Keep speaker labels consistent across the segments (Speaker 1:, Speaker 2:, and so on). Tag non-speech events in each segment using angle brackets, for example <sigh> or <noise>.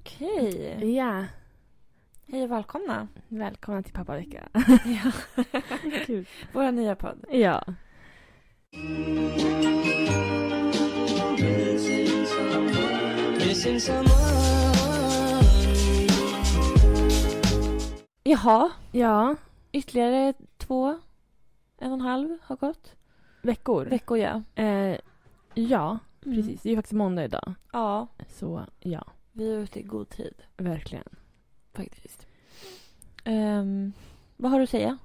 Speaker 1: Okej.
Speaker 2: Ja,
Speaker 1: Hej och välkomna.
Speaker 2: välkomna till pappavecka.
Speaker 1: <laughs> Ja.
Speaker 2: Kul.
Speaker 1: Vår nya podd.
Speaker 2: Ja.
Speaker 3: Missing someone.
Speaker 1: Jaha,
Speaker 2: Ja,
Speaker 1: ytterligare två, en och en halv har gått.
Speaker 2: veckor.
Speaker 1: Veckor, ja. Mm.
Speaker 2: eh, ja, precis. Det är ju faktiskt måndag idag.
Speaker 1: Ja,
Speaker 2: Så ja,
Speaker 1: vi är ute i god tid
Speaker 2: verkligen.
Speaker 1: faktiskt. Ehm, vad har du att säga?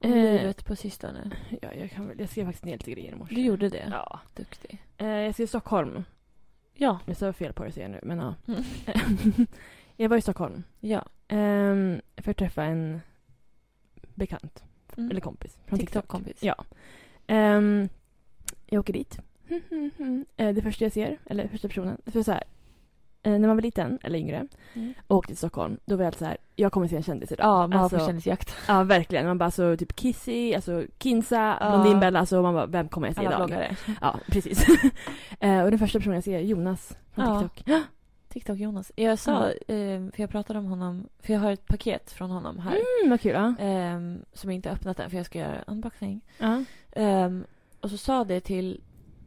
Speaker 1: Om
Speaker 2: Eh.
Speaker 1: livet på sistone.
Speaker 2: Ja, jag, kan, väl- jag skrev faktiskt ner lite grejer i morse.
Speaker 1: Du gjorde det.
Speaker 2: Ja.
Speaker 1: Duktig.
Speaker 2: Eh, jag skrev Stockholm.
Speaker 1: Ja.
Speaker 2: Jag sa fel på det säger jag nu, men ja.
Speaker 1: Mm.
Speaker 2: <laughs> jag var i Stockholm
Speaker 1: Ja.
Speaker 2: ehm, för att träffa en bekant,
Speaker 1: Mm.
Speaker 2: eller kompis, från TikTok.
Speaker 1: TikTok-kompis.
Speaker 2: Ja. Ehm, jag åker dit. <laughs> Eh, det första jag ser, eller första personen, för så här, eh, när man var liten, eller yngre,
Speaker 1: Mm.
Speaker 2: och åkte till Stockholm, då var jag alltid så här, jag kommer se en kändis idag.
Speaker 1: Ja, man
Speaker 2: Alltså,
Speaker 1: har försäljningsjakt.
Speaker 2: Ja, verkligen. Man bara så typ Kissy, alltså Kinsa,
Speaker 1: Ja.
Speaker 2: Blondinbella, alltså man bara, vem kommer jag se
Speaker 1: Alla
Speaker 2: idag?
Speaker 1: bloggare.
Speaker 2: Ja, precis. <laughs> eh, och den första personen jag ser är Jonas från
Speaker 1: Ja.
Speaker 2: TikTok.
Speaker 1: TikTok-Jonas. Jag sa, ehm, för jag pratade om honom, för jag har ett paket från honom här.
Speaker 2: Mm, vad kul. Ja.
Speaker 1: ehm, som jag inte har öppnat än för jag ska göra unboxing.
Speaker 2: Ja.
Speaker 1: Ehm, och så sa det till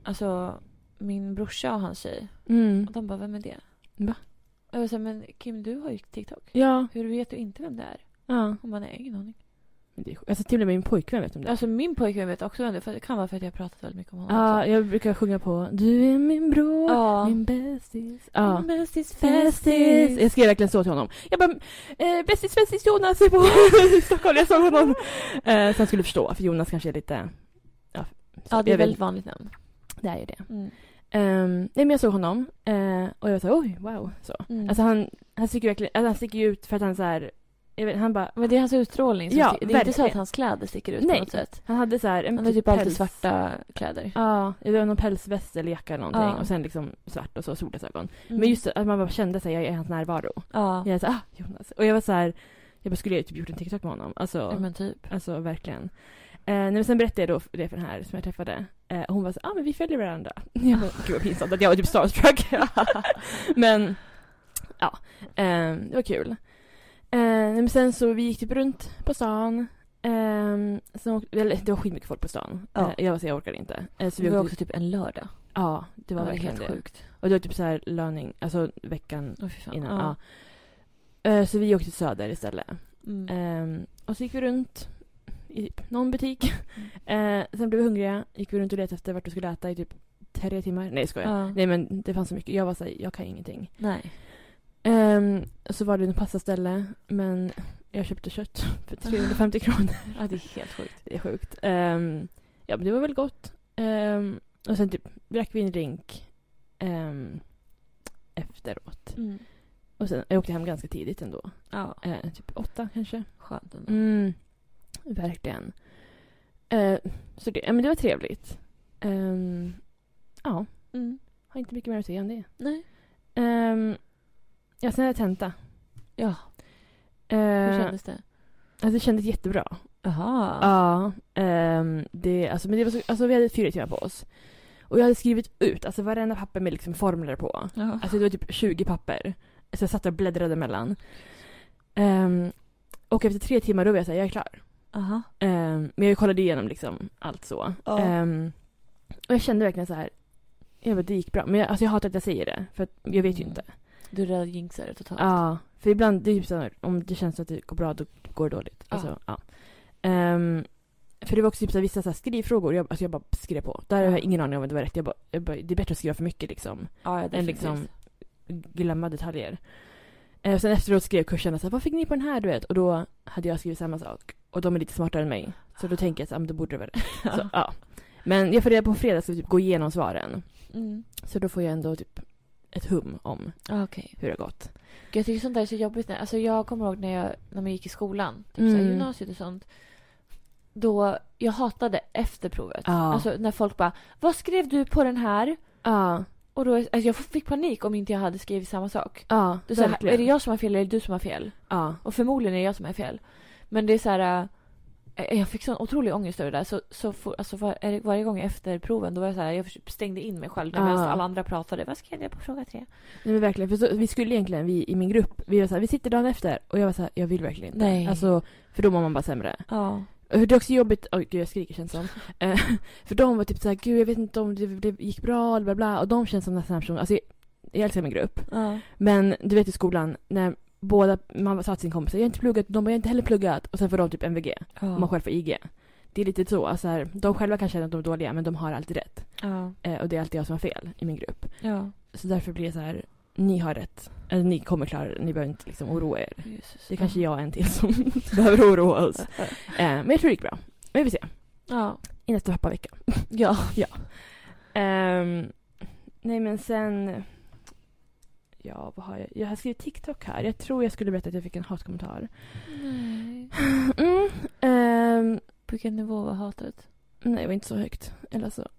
Speaker 1: alltså, min brorsa och hans tjej.
Speaker 2: Mm.
Speaker 1: Och de bara, vem är det?
Speaker 2: Va?
Speaker 1: Och jag sa, men Kim du har ju TikTok.
Speaker 2: Ja.
Speaker 1: Hur vet du inte vem det är?
Speaker 2: ja.
Speaker 1: Hon bara, nej ingen aning.
Speaker 2: Men det är sjukt. Alltså till och med min pojkvän vet om det.
Speaker 1: Alltså min pojkvän vet också vem det är. För det kan vara för att jag har pratat väldigt mycket om honom.
Speaker 2: Ja,
Speaker 1: också.
Speaker 2: jag brukar sjunga på Du är min bror,
Speaker 1: Ja.
Speaker 2: min bästis. Ja.
Speaker 1: Min bästis
Speaker 2: Bästis!
Speaker 1: festis.
Speaker 2: Jag skrev verkligen så till honom. Jag bara, eh, bästis, bästis Jonas är på <laughs> i Stockholm. Jag såg honom. Eh, så han skulle förstå, för Jonas kanske är lite... Ja, så-
Speaker 1: Ja, det är
Speaker 2: jag
Speaker 1: ett
Speaker 2: vet-
Speaker 1: väldigt vanligt namn.
Speaker 2: Det är ju det.
Speaker 1: Mm.
Speaker 2: Ehm, nej, men jag såg honom eh, och jag var så här, oj, wow. Så.
Speaker 1: Mm.
Speaker 2: Alltså han, han sticker verkligen, alltså, han sticker ju ut för att han så här, jag vet, han bara,
Speaker 1: men det är hans utstrålning. Som
Speaker 2: Ja,
Speaker 1: ja, det är inte så att
Speaker 2: verkligen.
Speaker 1: hans kläder sticker ut
Speaker 2: Nej.
Speaker 1: på något sätt.
Speaker 2: han hade så här en
Speaker 1: Han har typ alltid svarta kläder.
Speaker 2: Ja, det var någon pälsväst eller jacka eller någonting
Speaker 1: Ja.
Speaker 2: och sen liksom svart och så solglasögon.
Speaker 1: Mm.
Speaker 2: Men just det, att man bara kände sig jag är i hans närvaro.
Speaker 1: Ja,
Speaker 2: Jag är så här, ah, Jonas. Och jag var så här, jag bara, skulle jag typ gjort en TikTok med honom? Alltså,
Speaker 1: ja men typ.
Speaker 2: alltså verkligen. Eh, nej, men sen berättade jag då det för den här som jag träffade. Eh, och hon var så här, ah men vi
Speaker 1: <laughs>
Speaker 2: följer varandra. Jag bara, gud vad pinsamt att jag var typ starstruck. <laughs> men, ja. Eh, det var kul. Eh, nej, men sen så vi gick typ runt på stan. Eh, sen åkte, eller, det var skitmycket folk på stan.
Speaker 1: Ja.
Speaker 2: Eh, jag var så jag orkade inte. Eh, så
Speaker 1: det
Speaker 2: vi
Speaker 1: var
Speaker 2: åkte,
Speaker 1: också typ en lördag.
Speaker 2: ja, det
Speaker 1: Det
Speaker 2: var
Speaker 1: var
Speaker 2: verkligen
Speaker 1: helt
Speaker 2: det.
Speaker 1: sjukt.
Speaker 2: Och det var typ så här löning, alltså veckan
Speaker 1: Åh, fy fan.
Speaker 2: innan.
Speaker 1: Ja.
Speaker 2: Ja. Eh, så vi åkte till Söder istället.
Speaker 1: Mm.
Speaker 2: Ehm, och så gick vi runt i någon butik. Eh, sen blev vi hungriga, gick vi runt och letade efter vart vi skulle äta i typ tre timmar. Nej, skojar.
Speaker 1: Ja.
Speaker 2: Nej, men det fanns så mycket. Jag var såhär, jag kan ingenting.
Speaker 1: Nej.
Speaker 2: Ehm, så var det en pastaställe, men jag köpte kött <laughs> för 350 kronor.
Speaker 1: Ja, det är helt sjukt.
Speaker 2: Det är sjukt. Ehm, ja, men det var väl gott. Ehm, och sen typ drack vi en drink ehm, efteråt.
Speaker 1: Mm.
Speaker 2: Och sen, jag åkte hem ganska tidigt ändå.
Speaker 1: Ja,
Speaker 2: Eh, typ åtta kanske.
Speaker 1: skönt ändå.
Speaker 2: Mm, verkligen. Eh, så det, ja, men det var trevligt. Ehm, ja,
Speaker 1: Mm.
Speaker 2: har inte mycket mer att säga om det.
Speaker 1: Nej.
Speaker 2: Ehm, ja, sen hade jag tenta.
Speaker 1: Ja, hur
Speaker 2: Eh,
Speaker 1: kändes det?
Speaker 2: alltså, det kändes jättebra.
Speaker 1: Jaha.
Speaker 2: Ja. ehm, det, alltså, men det var så, alltså, vi hade fyra timmar på oss. Och jag hade skrivit ut alltså, varenda papper med liksom, formler på.
Speaker 1: Ja.
Speaker 2: Alltså det var typ 20 papper. Så jag satt och bläddrade mellan. Ehm, och efter tre timmar då var jag såhär, jag är klar.
Speaker 1: Aha.
Speaker 2: Ehm, men jag kollade igenom liksom allt så.
Speaker 1: Ja.
Speaker 2: Ehm, och jag kände verkligen så här. Jag bara, det gick bra. Men jag, alltså jag hatar att jag säger det. För att jag vet ju
Speaker 1: Mm.
Speaker 2: inte.
Speaker 1: Du rädd jinxar det totalt.
Speaker 2: Ja. För ibland, det är typ så här, om det känns att det går bra, då går det dåligt.
Speaker 1: Ja.
Speaker 2: Alltså, ja. Ehm, för det var också typ så här, vissa så här skrivfrågor. Jag, alltså jag bara skrev på. Där har jag
Speaker 1: Ja.
Speaker 2: ingen aning om att det var rätt. Jag bara, jag bara, det är bättre att skriva för mycket liksom.
Speaker 1: ja, ja,
Speaker 2: Än
Speaker 1: definitivt.
Speaker 2: liksom glömma detaljer. Eh, sen efteråt skrev kurserna så här, vad fick ni på den här du vet? Och då hade jag skrivit samma sak. Och de är lite smartare än mig. Så då tänker jag att ah, men då borde det <laughs> vara rätt. så, ja. Men jag får reda på fredag ska vi typ gå igenom svaren.
Speaker 1: Mm.
Speaker 2: Så då får jag ändå typ ett hum om
Speaker 1: Ah, Okej.
Speaker 2: hur det har gått.
Speaker 1: Gud, Jag tycker sånt där är så jobbigt. När, alltså jag kommer ihåg när, jag, när man gick i skolan, typ så
Speaker 2: Mm.
Speaker 1: här, gymnasiet och sånt. Då, jag hatade efter provet.
Speaker 2: Ja.
Speaker 1: Alltså när folk bara, vad skrev du på den här?
Speaker 2: Ja,
Speaker 1: Och då, alltså jag fick panik om inte jag hade skrivit samma sak.
Speaker 2: ja,
Speaker 1: Det är, så här,
Speaker 2: verkligen.
Speaker 1: är det jag som har fel eller är det du som har fel?
Speaker 2: Ja,
Speaker 1: Och förmodligen är det jag som har fel. Men det är så här... Eh, Jag fick sån otrolig ångest över det där. Så, så for, alltså var, varje gång efter proven då var jag så här, jag förs- stängde in mig själv
Speaker 2: Ah.
Speaker 1: medan alla andra pratade. Vad skrev jag på fråga tre?
Speaker 2: Nej men verkligen, för så, vi skulle egentligen, vi i min grupp, vi var så här, vi sitter dagen efter och jag var så här, jag vill verkligen inte.
Speaker 1: Nej.
Speaker 2: Alltså, för då mår man bara sämre.
Speaker 1: Ja.
Speaker 2: Och Eh, Det är också jobbigt, oj gud jag skriker känns som. Eh, <laughs> för de var typ så här, gud jag vet inte om det, det gick bra eller bla bla. Och de känns som nästan personer, alltså jag, jag älskar min grupp.
Speaker 1: ja.
Speaker 2: Men du vet i skolan, när båda, man sa till sin kompis, jag har inte pluggat, de bara, jag har inte heller pluggat. Och sen får de typ MVG, och man själv får IG. Det är lite så, alltså här, de själva kan känna att de är dåliga men de har alltid rätt.
Speaker 1: Ja.
Speaker 2: Eh, och det är alltid jag som har fel i min grupp.
Speaker 1: ja.
Speaker 2: Så därför blir det så här, ni har rätt. Eller ni kommer klara det, ni behöver inte liksom oroa er.
Speaker 1: Jesus.
Speaker 2: Det är kanske jag och en till som <laughs> behöver oroa oss. Eh, men jag tror det gick bra. Men vi får se.
Speaker 1: Ja.
Speaker 2: I nästa pappavecka.
Speaker 1: <laughs>
Speaker 2: <laughs>
Speaker 1: Ja.
Speaker 2: Ehm, nej men sen... Ja, vad har jag? Jag har skrivit TikTok här. Jag tror jag skulle berätta att jag fick
Speaker 1: <laughs>
Speaker 2: en hatkommentar.
Speaker 1: Nej.
Speaker 2: Mm, ehm,
Speaker 1: På vilken nivå var hatet?
Speaker 2: nej, det var inte så högt. Eller så. <laughs>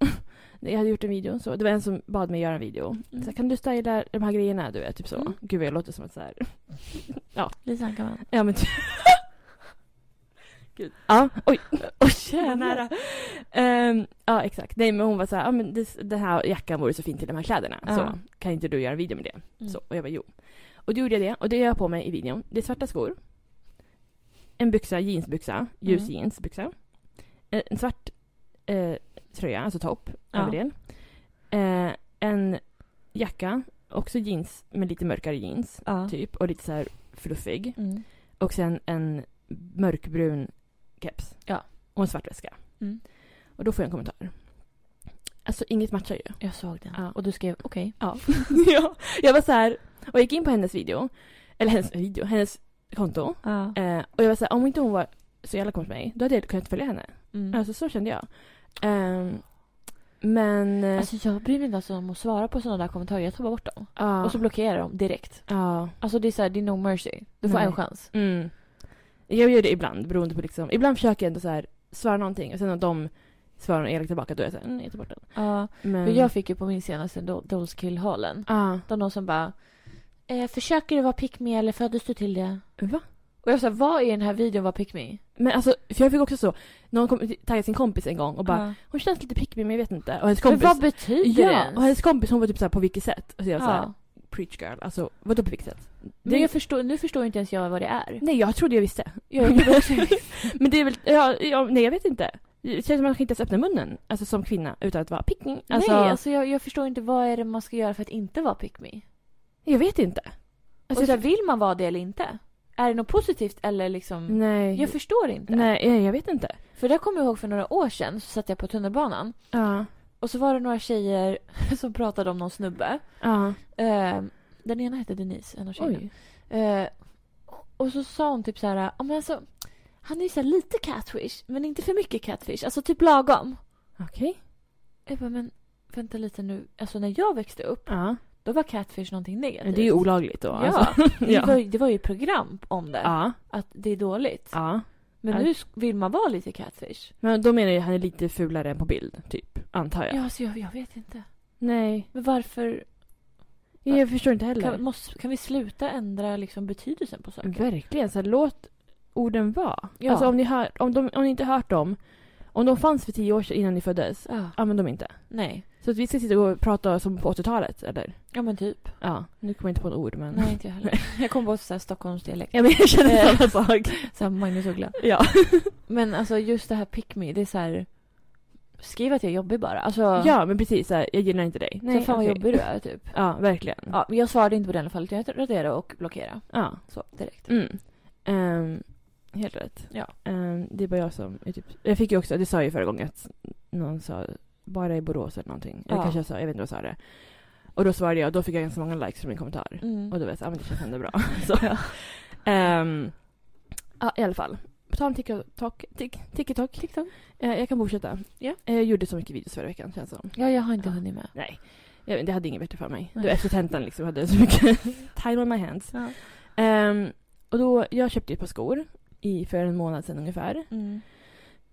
Speaker 2: Nej, Jag hade gjort en video. Så det var en som bad mig göra en video. Så här, kan du styla de här grejerna? Du vet, typ så.
Speaker 1: Mm.
Speaker 2: Gud, vad jag låter som att så här... <laughs>
Speaker 1: Lisa Ankarman.
Speaker 2: Ja men typ.
Speaker 1: <laughs>
Speaker 2: Gud. Ja, oj. <laughs> Oj,
Speaker 1: Vad nära.
Speaker 2: Ehm, ja exakt. Nej men hon var så här, ja men det, den här jackan vore så fin till de här kläderna.
Speaker 1: Ja.
Speaker 2: Så kan inte du göra en video med det?
Speaker 1: Mm.
Speaker 2: Så, och jag bara jo. Och då gjorde jag det och det gör jag på mig i videon. Det är svarta skor. En byxa, jeansbyxa, ljus
Speaker 1: Mm.
Speaker 2: jeansbyxa. Eh, En svart eh, tröja, alltså topp,
Speaker 1: Ja.
Speaker 2: överdel. Eh, en jacka, också jeans men lite mörkare jeans.
Speaker 1: Ja.
Speaker 2: Typ, och lite så här fluffig.
Speaker 1: Mm.
Speaker 2: Och sen en mörkbrun keps.
Speaker 1: Ja.
Speaker 2: Och en svart väska.
Speaker 1: Mm.
Speaker 2: Och då får jag en kommentar. Alltså inget matchar
Speaker 1: <laughs>
Speaker 2: ju.
Speaker 1: Jag såg den.
Speaker 2: Ja.
Speaker 1: Och du skrev okej.
Speaker 2: ja. Jag var så här, och jag gick in på hennes video. Eller hennes video, hennes konto.
Speaker 1: Ja.
Speaker 2: Eh, och jag var så här, om inte hon var så jävla kompis med mig, då hade jag kunnat följa henne.
Speaker 1: Mm.
Speaker 2: Alltså så kände jag. Ehm, men... eh,
Speaker 1: Alltså jag bryr mig inte alltså om att svara på sådana där kommentarer. Jag tar bara bort dem.
Speaker 2: ja.
Speaker 1: Och så blockerar jag dem direkt.
Speaker 2: ja.
Speaker 1: Alltså det är såhär, det är no mercy. Du får
Speaker 2: Nej.
Speaker 1: en chans.
Speaker 2: Mm. Jag gör det ibland beroende på liksom. Ibland försöker jag ändå så här svara någonting och sen om de svarar något elakt tillbaka då är jag såhär, mm, jag tar bort den.
Speaker 1: Ja.
Speaker 2: Men...
Speaker 1: För jag fick ju på min senaste Do- Dolls Kill-halen.
Speaker 2: Ja.
Speaker 1: Det var någon som bara eh, Försöker du vara pick me eller föddes du till det?
Speaker 2: Va?
Speaker 1: Och jag sa vad i den här videon var pick me?
Speaker 2: Men alltså, för jag fick också så. Någon kom, taggade sin kompis en gång och bara Hon känns lite pick me, men jag vet inte. Och hennes
Speaker 1: Ah. Men
Speaker 2: kompis
Speaker 1: vad betyder det?
Speaker 2: Ja,
Speaker 1: ens?
Speaker 2: och hennes kompis hon var typ såhär på vilket sätt? Och så jag var såhär
Speaker 1: ja.
Speaker 2: preach girl. Alltså vadå på vilket sätt? Det,
Speaker 1: Men jag förstår, nu förstår inte ens jag vad det är.
Speaker 2: Nej jag trodde jag visste.
Speaker 1: Jag gjorde också- <laughs>
Speaker 2: men det är väl, ja, ja, nej jag vet inte. Det känns som att man kan inte ens öppna munnen. Alltså som kvinna utan att vara pick me. Alltså,
Speaker 1: Nej, alltså jag, jag förstår inte vad är det man ska göra för att inte vara pick me?
Speaker 2: jag vet inte. Alltså,
Speaker 1: och så här, vill man vara det eller inte? Är det något positivt eller liksom?
Speaker 2: nej.
Speaker 1: Jag förstår inte.
Speaker 2: nej, jag- jag vet inte.
Speaker 1: För det kommer jag ihåg för några år sedan så satt jag på tunnelbanan
Speaker 2: Ja.
Speaker 1: och så var det några tjejer <laughs> som pratade om någon snubbe.
Speaker 2: Ja.
Speaker 1: Eh, den ena hette Denise, en av tjejerna.
Speaker 2: Oj.
Speaker 1: Eh, och så sa hon typ så här, "Ja, men alltså, han är ju så här lite catfish, men inte för mycket catfish. Alltså typ lagom.
Speaker 2: Okej.
Speaker 1: Jag bara, men vänta lite nu. Alltså när jag växte upp,
Speaker 2: Ja.
Speaker 1: då var catfish någonting negativt.
Speaker 2: Det är ju olagligt
Speaker 1: <laughs>
Speaker 2: då.
Speaker 1: Ja,
Speaker 2: Alltså.
Speaker 1: det,
Speaker 2: <laughs>
Speaker 1: var, ju- det var ju program om det.
Speaker 2: ja.
Speaker 1: Att det är dåligt.
Speaker 2: Ja.
Speaker 1: Men
Speaker 2: Ja.
Speaker 1: nu sk- vill man vara lite catfish.
Speaker 2: Men då menar jag att han är lite fulare än på bild, typ. Antar jag.
Speaker 1: Ja, alltså, jag, jag vet inte.
Speaker 2: Nej.
Speaker 1: Men varför?
Speaker 2: Jag förstår inte heller.
Speaker 1: Kan, måste, kan vi sluta ändra liksom, betydelsen på saker?
Speaker 2: Verkligen. Så här, låt orden vara.
Speaker 1: Ja.
Speaker 2: Alltså om ni, hör, om, de, om ni inte hört dem. Om de fanns för tio år sedan innan ni föddes.
Speaker 1: Ja,
Speaker 2: Använd dem inte.
Speaker 1: nej.
Speaker 2: Så att vi ska sitta och prata som på 80-talet, eller?
Speaker 1: Ja, men
Speaker 2: <laughs>
Speaker 1: typ.
Speaker 2: Ja. Nu kommer jag inte på en ord, men...
Speaker 1: Nej, inte jag heller. Jag kom på så här Stockholmsdialekt.
Speaker 2: Ja, men jag
Speaker 1: Eh.
Speaker 2: känner samma sak.
Speaker 1: <laughs> Så här Magnus Uggla.
Speaker 2: <laughs> Ja.
Speaker 1: Men alltså just det här pick me, det är så här... Skriv att jag är jobbig bara. Alltså,
Speaker 2: ja, men precis. Så här, jag gillar inte dig.
Speaker 1: så fan vad
Speaker 2: okej. Mm.
Speaker 1: jobbig du är
Speaker 2: <laughs>
Speaker 1: typ.
Speaker 2: Ja, verkligen.
Speaker 1: Ja, men jag svarade inte på det i alla fall. utan Jag raderade och blockerade.
Speaker 2: Ja.
Speaker 1: Så direkt.
Speaker 2: Mm. Ehm, helt rätt.
Speaker 1: Ja.
Speaker 2: Ehm, det är bara jag som är typ... Jag fick ju också, det sa jag ju förra gången att någon sa bara i Borås eller någonting. Eller
Speaker 1: Ja.
Speaker 2: kanske jag sa, jag vet inte vad jag sa det. Och då svarade jag och då fick jag ganska många likes från min kommentar.
Speaker 1: Mm.
Speaker 2: Och då var jag så, ja men det känns ändå <laughs> bra. så. Ehm, ja i alla fall. På tal om TikTok, tik, TikTok.
Speaker 1: TikTok.
Speaker 2: Eh, jag kan fortsätta.
Speaker 1: Ja.
Speaker 2: Eh, jag gjorde så mycket videos förra veckan känns det som.
Speaker 1: Ja, jag har inte
Speaker 2: Ja.
Speaker 1: hunnit med.
Speaker 2: Nej, jag vet, det hade inget bättre för mig. Det
Speaker 1: Nej.
Speaker 2: var efter tentan liksom, hade jag så mycket <laughs> time on my hands.
Speaker 1: Ja.
Speaker 2: Ehm, och då, jag köpte ju ett par skor i, för en månad sedan ungefär.
Speaker 1: Mm.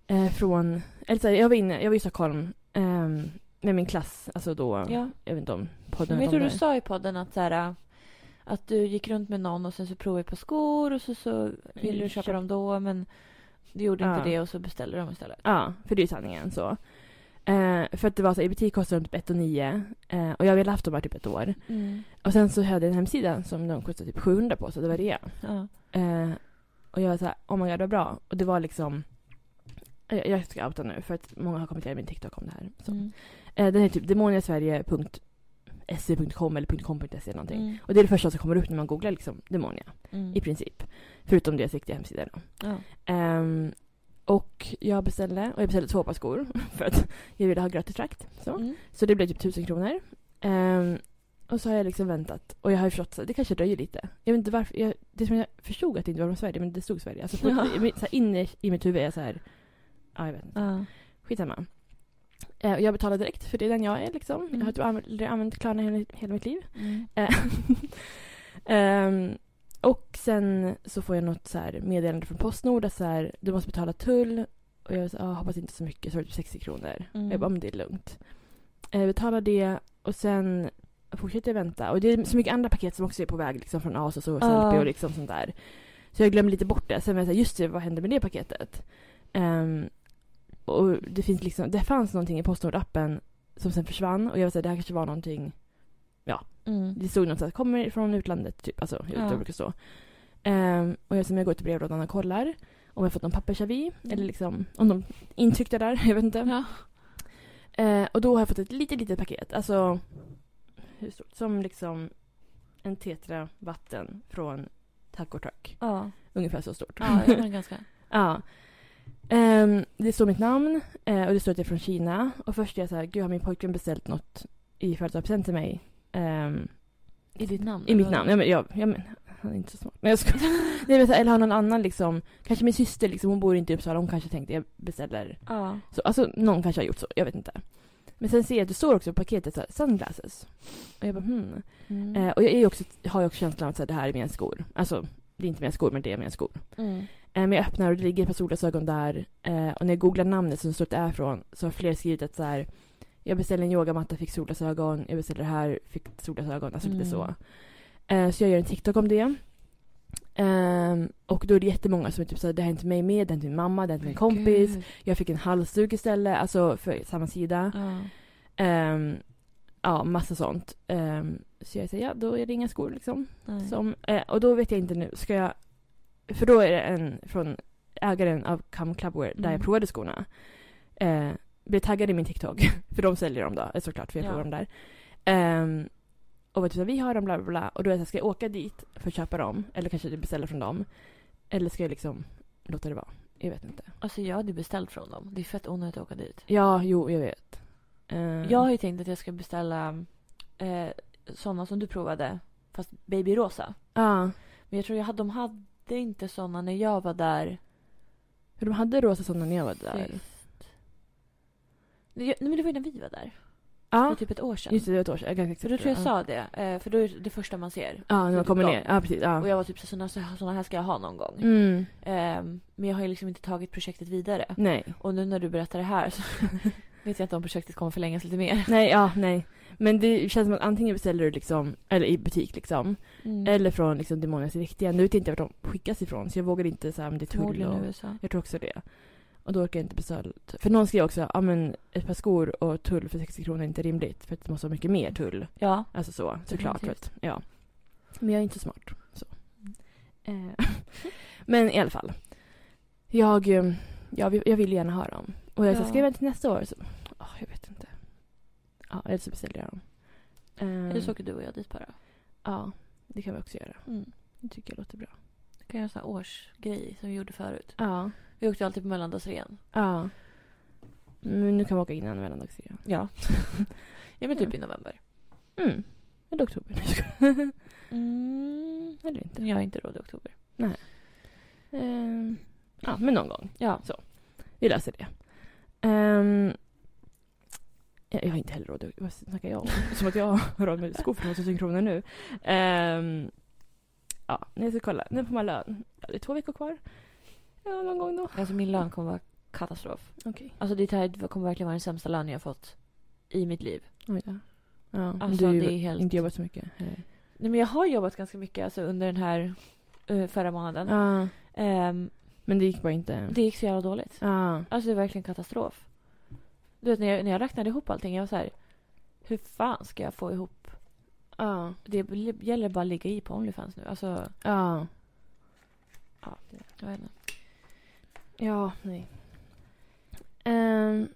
Speaker 2: Eh, från, eller så här, jag var inne, jag var i Stockholm ehm, med min klass, alltså då,
Speaker 1: ja.
Speaker 2: jag vet inte om podden
Speaker 1: Men jag
Speaker 2: vet om
Speaker 1: tror du
Speaker 2: det.
Speaker 1: sa i podden att så här, att du gick runt med någon och sen så provade på skor och så, så ville du
Speaker 2: Mm,
Speaker 1: köpa
Speaker 2: köp-
Speaker 1: dem då men Du gjorde
Speaker 2: Ja.
Speaker 1: inte det och så beställde de istället.
Speaker 2: Ja, för det är ju sanningen så. Eh, för att det var så i butik kostade de typ 1 och 9 eh, och jag ville haft dem bara typ ett år. Och sen så hade jag en hemsida som de kostade typ 700 på så det var det.
Speaker 1: Ja.
Speaker 2: Eh, och jag var såhär, oh my god vad bra. Och det var liksom, jag, jag ska outa nu för att många har kommenterat min TikTok om det här. Så.
Speaker 1: Mm.
Speaker 2: Eh, den är typ demoniasverige.se.com eller .com.se eller någonting.
Speaker 1: Mm.
Speaker 2: Och det är det första som kommer upp när man googlar liksom demonia
Speaker 1: Mm.
Speaker 2: i princip. Förutom deras riktiga hemsida då.
Speaker 1: Ja.
Speaker 2: Ehm, och jag beställde, och jag beställde två par skor <laughs> för att jag ville ha gratis frakt. Så.
Speaker 1: Mm.
Speaker 2: så det blev typ tusen kronor. Ehm, och så har jag liksom väntat och jag har ju förstått att det kanske dröjer lite. Jag vet inte varför, jag, det är som jag förstod att det inte var från Sverige men det stod Sverige. Alltså på,
Speaker 1: Ja.
Speaker 2: men så här inne i mitt huvud är jag så här, ja jag vet inte.
Speaker 1: Ja.
Speaker 2: Skitsamma. Eh, och jag betalar direkt för det är den jag är liksom. Jag har
Speaker 1: Mm.
Speaker 2: typ aldrig använt Klarna hela, hela mitt liv.
Speaker 1: Mm.
Speaker 2: Eh, ehm, och sen så får jag något så här meddelande från Postnord att så här, du måste betala tull. Och jag sa, ah, hoppas inte så mycket, så var det typ 60 kronor.
Speaker 1: Mm.
Speaker 2: Jag bara, om det är lugnt. Eh, Jag betalar det och sen fortsätter jag vänta. Och det är så mycket andra paket som också är på väg liksom, från AS och så, och
Speaker 1: Ja.
Speaker 2: Sellpy och liksom sånt där. Så jag glömmer lite bort det. Sen var jag så här, just det, vad hände med det paketet? Ehm, och det, finns liksom, det fanns någonting i Postnord-appen som sen försvann. Och jag var så här, det här kanske var någonting
Speaker 1: Mm.
Speaker 2: det stod något så här, kommer från utlandet, typ. Alltså, jag
Speaker 1: Ja.
Speaker 2: ja. brukar stå. Ehm, och jag, som jag går till brevlådan och kollar om jag fått någon pappersavi
Speaker 1: Mm.
Speaker 2: eller liksom om de intryckta där, <laughs> jag vet inte.
Speaker 1: Ja.
Speaker 2: Ehm, och då har jag fått ett litet, litet paket. Alltså, hur stort? Som liksom en tetra vatten från Taco Truck.
Speaker 1: Ja.
Speaker 2: Ungefär så stort.
Speaker 1: Ja, jag var ganska.
Speaker 2: <laughs> Ja. Ehm, det står mitt namn eh, och det står att jag är från Kina. Och först är jag så här, gud har min pojkvän beställt något i födelsedagspresent till mig? Ehm,
Speaker 1: I ditt namn?
Speaker 2: i mitt
Speaker 1: eller?
Speaker 2: namn. Ja, men, jag, jag men, han är inte så smart. Men jag skojar. Nej, men, så här, eller har någon annan liksom. Kanske min syster liksom, hon bor inte i Uppsala. Hon kanske tänkte jag beställer.
Speaker 1: Ja.
Speaker 2: Så, alltså någon kanske har gjort så. Jag vet inte. Men sen ser jag att det står också på paketet så här, sunglasses. Och jag bara hmm.
Speaker 1: Mm.
Speaker 2: Eh, och jag är ju också, har ju också känslan att så här, det här är mina skor. Alltså det är inte mina skor men det är mina skor.
Speaker 1: Mm.
Speaker 2: Eh, men jag öppnar och det ligger ett par solglasögon där. Eh, och när jag googlar namnet som står att det är från så har fler skrivit att så här. Jag beställde en yogamatta, fick solglasögon. Jag beställde det här, fick solglasögon. Alltså lite
Speaker 1: Mm.
Speaker 2: så. Eh, så jag gör en TikTok om det. Ehm, och då är det jättemånga som är typ såhär, det har hänt mig med, det har hänt min mamma, det har hänt min kompis.
Speaker 1: Gud.
Speaker 2: Jag fick en halsduk istället, alltså för samma sida.
Speaker 1: Ja.
Speaker 2: Ehm, ja, massa sånt. Ehm, så jag säger, ja då är det inga skor liksom.
Speaker 1: Nej.
Speaker 2: Som, eh, och då vet jag inte nu, ska jag... För då är det en från ägaren av Come Clubwear där
Speaker 1: Mm.
Speaker 2: jag provade skorna. Eh, blev taggad i min TikTok, <laughs> för de säljer dem då eh, såklart, för jag
Speaker 1: Ja.
Speaker 2: provar dem där. Ehm, och vet du, så vi har dem bla bla bla. Och då är jag så här, ska jag åka dit för att köpa dem? Eller kanske beställa från dem? Eller ska jag liksom låta det vara? Jag vet inte.
Speaker 1: Alltså jag hade beställt från dem. Det är fett onödigt att åka dit.
Speaker 2: Ja, jo, jag vet. Ehm,
Speaker 1: Jag har ju tänkt att jag ska beställa eh, sådana som du provade. Fast babyrosa.
Speaker 2: Ja,
Speaker 1: Men jag tror jag hade, de hade inte sådana när jag var där.
Speaker 2: för de hade rosa sådana när jag var där.
Speaker 1: sist. Nej, jag- nej, men det var ju när vi var där.
Speaker 2: Ja,
Speaker 1: För typ ett år sedan.
Speaker 2: just det, det var ett år sedan. Ganska
Speaker 1: För
Speaker 2: exakt,
Speaker 1: då tror jag
Speaker 2: ja.
Speaker 1: sa det. eh, För då är det det första man ser.
Speaker 2: Ja, när man
Speaker 1: typ
Speaker 2: kommer
Speaker 1: dem.
Speaker 2: ner. Ja, precis. Ja.
Speaker 1: Och jag var typ sådana såna här ska jag ha någon gång.
Speaker 2: Mm.
Speaker 1: Eh, men jag har ju liksom inte tagit projektet vidare.
Speaker 2: Nej.
Speaker 1: Och nu när du berättar det här så vet jag inte om projektet kommer förlängas lite mer.
Speaker 2: Nej, ja, nej. Men det känns som att antingen beställer du liksom, eller i butik liksom,
Speaker 1: Mm.
Speaker 2: eller från liksom Demonias riktiga. Nu vet jag inte vart de skickas ifrån så jag vågar inte säga om det är tull
Speaker 1: Förmodligen
Speaker 2: och...
Speaker 1: USA.
Speaker 2: Jag tror också det. Och då orkar jag inte beställa. typ. För någon skrev också, ja men ett par skor och tull för 60 kronor är inte rimligt för att det måste vara mycket mer tull.
Speaker 1: Ja.
Speaker 2: Alltså så, såklart. För att, ja. Men jag är inte så smart. Så. Eh, <laughs> Men i alla fall. Jag, eh, ja, vi- jag vill gärna ha dem. Och jag sa,
Speaker 1: Ja.
Speaker 2: ska jag vänta till nästa år? Så, åh, jag vet inte. Ja, eller så beställer jag dem. Eh,
Speaker 1: Eller så åker du och jag dit bara.
Speaker 2: Ja, det kan vi också göra.
Speaker 1: Mm.
Speaker 2: Det tycker jag låter bra.
Speaker 1: Du kan göra en sån här årsgrej som vi gjorde förut.
Speaker 2: Ja.
Speaker 1: Vi åkte alltid på mellandagsrean.
Speaker 2: Ja. Men nu kan vi åka innan mellandagsrean.
Speaker 1: Ja. ja men typ i november.
Speaker 2: Mm. Eller oktober. Nej, jag skojar.
Speaker 1: Mm.
Speaker 2: Eller inte.
Speaker 1: Jag har inte råd i oktober.
Speaker 2: Eh, ja, men någon gång.
Speaker 1: Ja.
Speaker 2: Vi löser det. Ehm, jag, jag har inte heller råd att... Vad
Speaker 1: <laughs>
Speaker 2: snackar jag om? Som att jag har råd med skor för 2000 kronor nu. Ehm, ja, när jag ska kolla. När får man lön? Ja, det är två veckor kvar. Ja, någon gång då.
Speaker 1: Alltså min lön kommer vara katastrof.
Speaker 2: Okej.
Speaker 1: Alltså det här kommer verkligen vara den sämsta lönen jag fått i mitt liv.
Speaker 2: Oj då. Ja, men
Speaker 1: Alltså
Speaker 2: du
Speaker 1: det är
Speaker 2: har
Speaker 1: helt...
Speaker 2: inte jobbat så mycket. eller?
Speaker 1: Nej men jag har jobbat ganska mycket alltså under den här eh, förra månaden.
Speaker 2: Ja.
Speaker 1: Ehm,
Speaker 2: Men det gick bara inte.
Speaker 1: Det gick så jävla dåligt.
Speaker 2: Ja.
Speaker 1: Alltså det var verkligen katastrof. Du vet när jag, när jag räknade ihop allting, jag var så här. Hur fan ska jag få ihop?
Speaker 2: Ja.
Speaker 1: Det bl- gäller bara att ligga i på Onlyfans nu. Alltså,
Speaker 2: Ja.
Speaker 1: ja. det- Jag vet inte.
Speaker 2: Ja, nej. Ehm,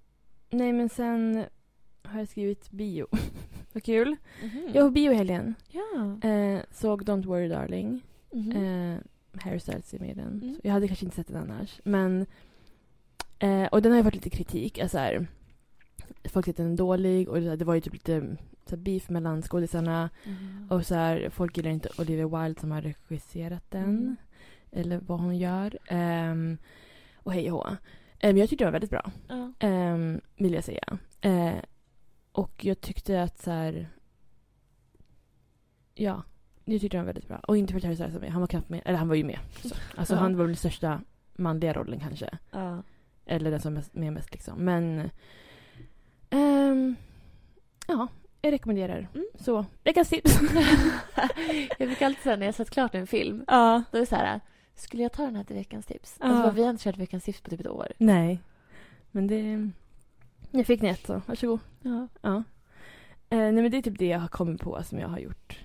Speaker 2: nej, men sen har jag skrivit bio. <laughs> Vad kul. Jag var
Speaker 1: Jag,
Speaker 2: på bio i helgen.
Speaker 1: Mhm. ja.
Speaker 2: Eh, såg Don't Worry Darling.
Speaker 1: Mhm.
Speaker 2: Eh, Harry Styles är med i den.
Speaker 1: Mm.
Speaker 2: Så jag hade kanske inte sett den annars. Men, eh, och den har ju varit lite kritik. Alltså här, folk tyckte den är dålig och det det var ju typ lite så här, beef mellan skådisarna.
Speaker 1: Mhm.
Speaker 2: Och så här, folk gillar inte Olivia Wilde som har regisserat den.
Speaker 1: Mm.
Speaker 2: Eller vad hon gör. Ehm, och hej och hå. Eh, Men jag tyckte den var väldigt bra.
Speaker 1: Ja.
Speaker 2: Ehm, vill jag säga. Eh, och jag tyckte att så här... Ja, jag tyckte han var väldigt bra. Och inte för att Harry Styles var med. Han var knappt med. Eller han var ju med. Så. Alltså
Speaker 1: Ja.
Speaker 2: han var väl den största manliga rollen kanske.
Speaker 1: Ja. <laughs>
Speaker 2: Eller den som är med mest liksom. Men... ehm, ja, jag rekommenderar.
Speaker 1: Mm.
Speaker 2: Så, veckans tips.
Speaker 1: Jag fick alltid säga när jag satt klart en film.
Speaker 2: ja.
Speaker 1: Då är det så här. Skulle jag ta den här till veckans tips?
Speaker 2: Ja.
Speaker 1: Alltså, vi har inte kört veckans tips på typ ett år.
Speaker 2: Nej. Men det... Jag fick ni ett så, varsågod.
Speaker 1: Ja.
Speaker 2: Ja. Eh, nej men det är typ det jag har kommit på som jag har gjort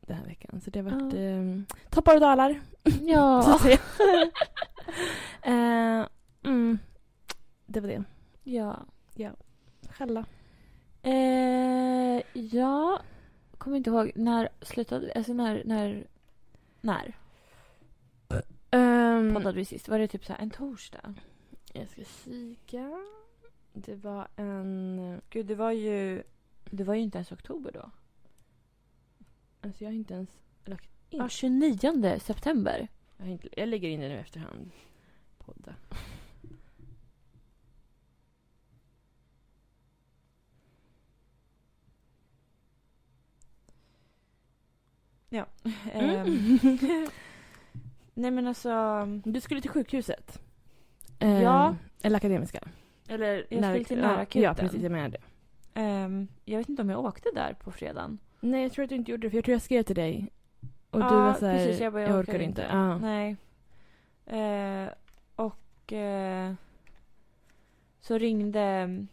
Speaker 2: den här veckan. Så det har varit
Speaker 1: Ja.
Speaker 2: ehm, toppar och dalar. Så
Speaker 1: Ja.
Speaker 2: att säga. <laughs> eh, mm. Det var det.
Speaker 1: ja.
Speaker 2: Skälla.
Speaker 1: Eh, jag kommer inte ihåg. När slutade vi? Alltså när... När, när
Speaker 2: Um, Ehm, Mm.
Speaker 1: poddade vi sist? Var det typ så här en torsdag?
Speaker 2: jag ska kika. Det var en...
Speaker 1: Gud, det var ju... Det var ju inte ens oktober då.
Speaker 2: Alltså jag har inte ens lagt in.
Speaker 1: Ja, 29 september.
Speaker 2: Jag, har inte, jag lägger in det nu efterhand. Podda.
Speaker 1: Ja.
Speaker 2: Mm.
Speaker 1: Ehm, <laughs> Nej men alltså...
Speaker 2: Du skulle till sjukhuset.
Speaker 1: Ja.
Speaker 2: Ehm, Eller Akademiska. Eller
Speaker 1: jag skulle till närakuten.
Speaker 2: Ja, precis. Jag menar det.
Speaker 1: ehm, jag vet inte om jag åkte där på fredagen.
Speaker 2: Nej, jag tror att du inte gjorde det. För jag tror jag skrev till dig. Och
Speaker 1: Ja,
Speaker 2: du var såhär,
Speaker 1: precis, jag bara, jag orkar
Speaker 2: orkar inte.
Speaker 1: inte.
Speaker 2: Ja.
Speaker 1: Nej. Eh, och eh, så ringde mm,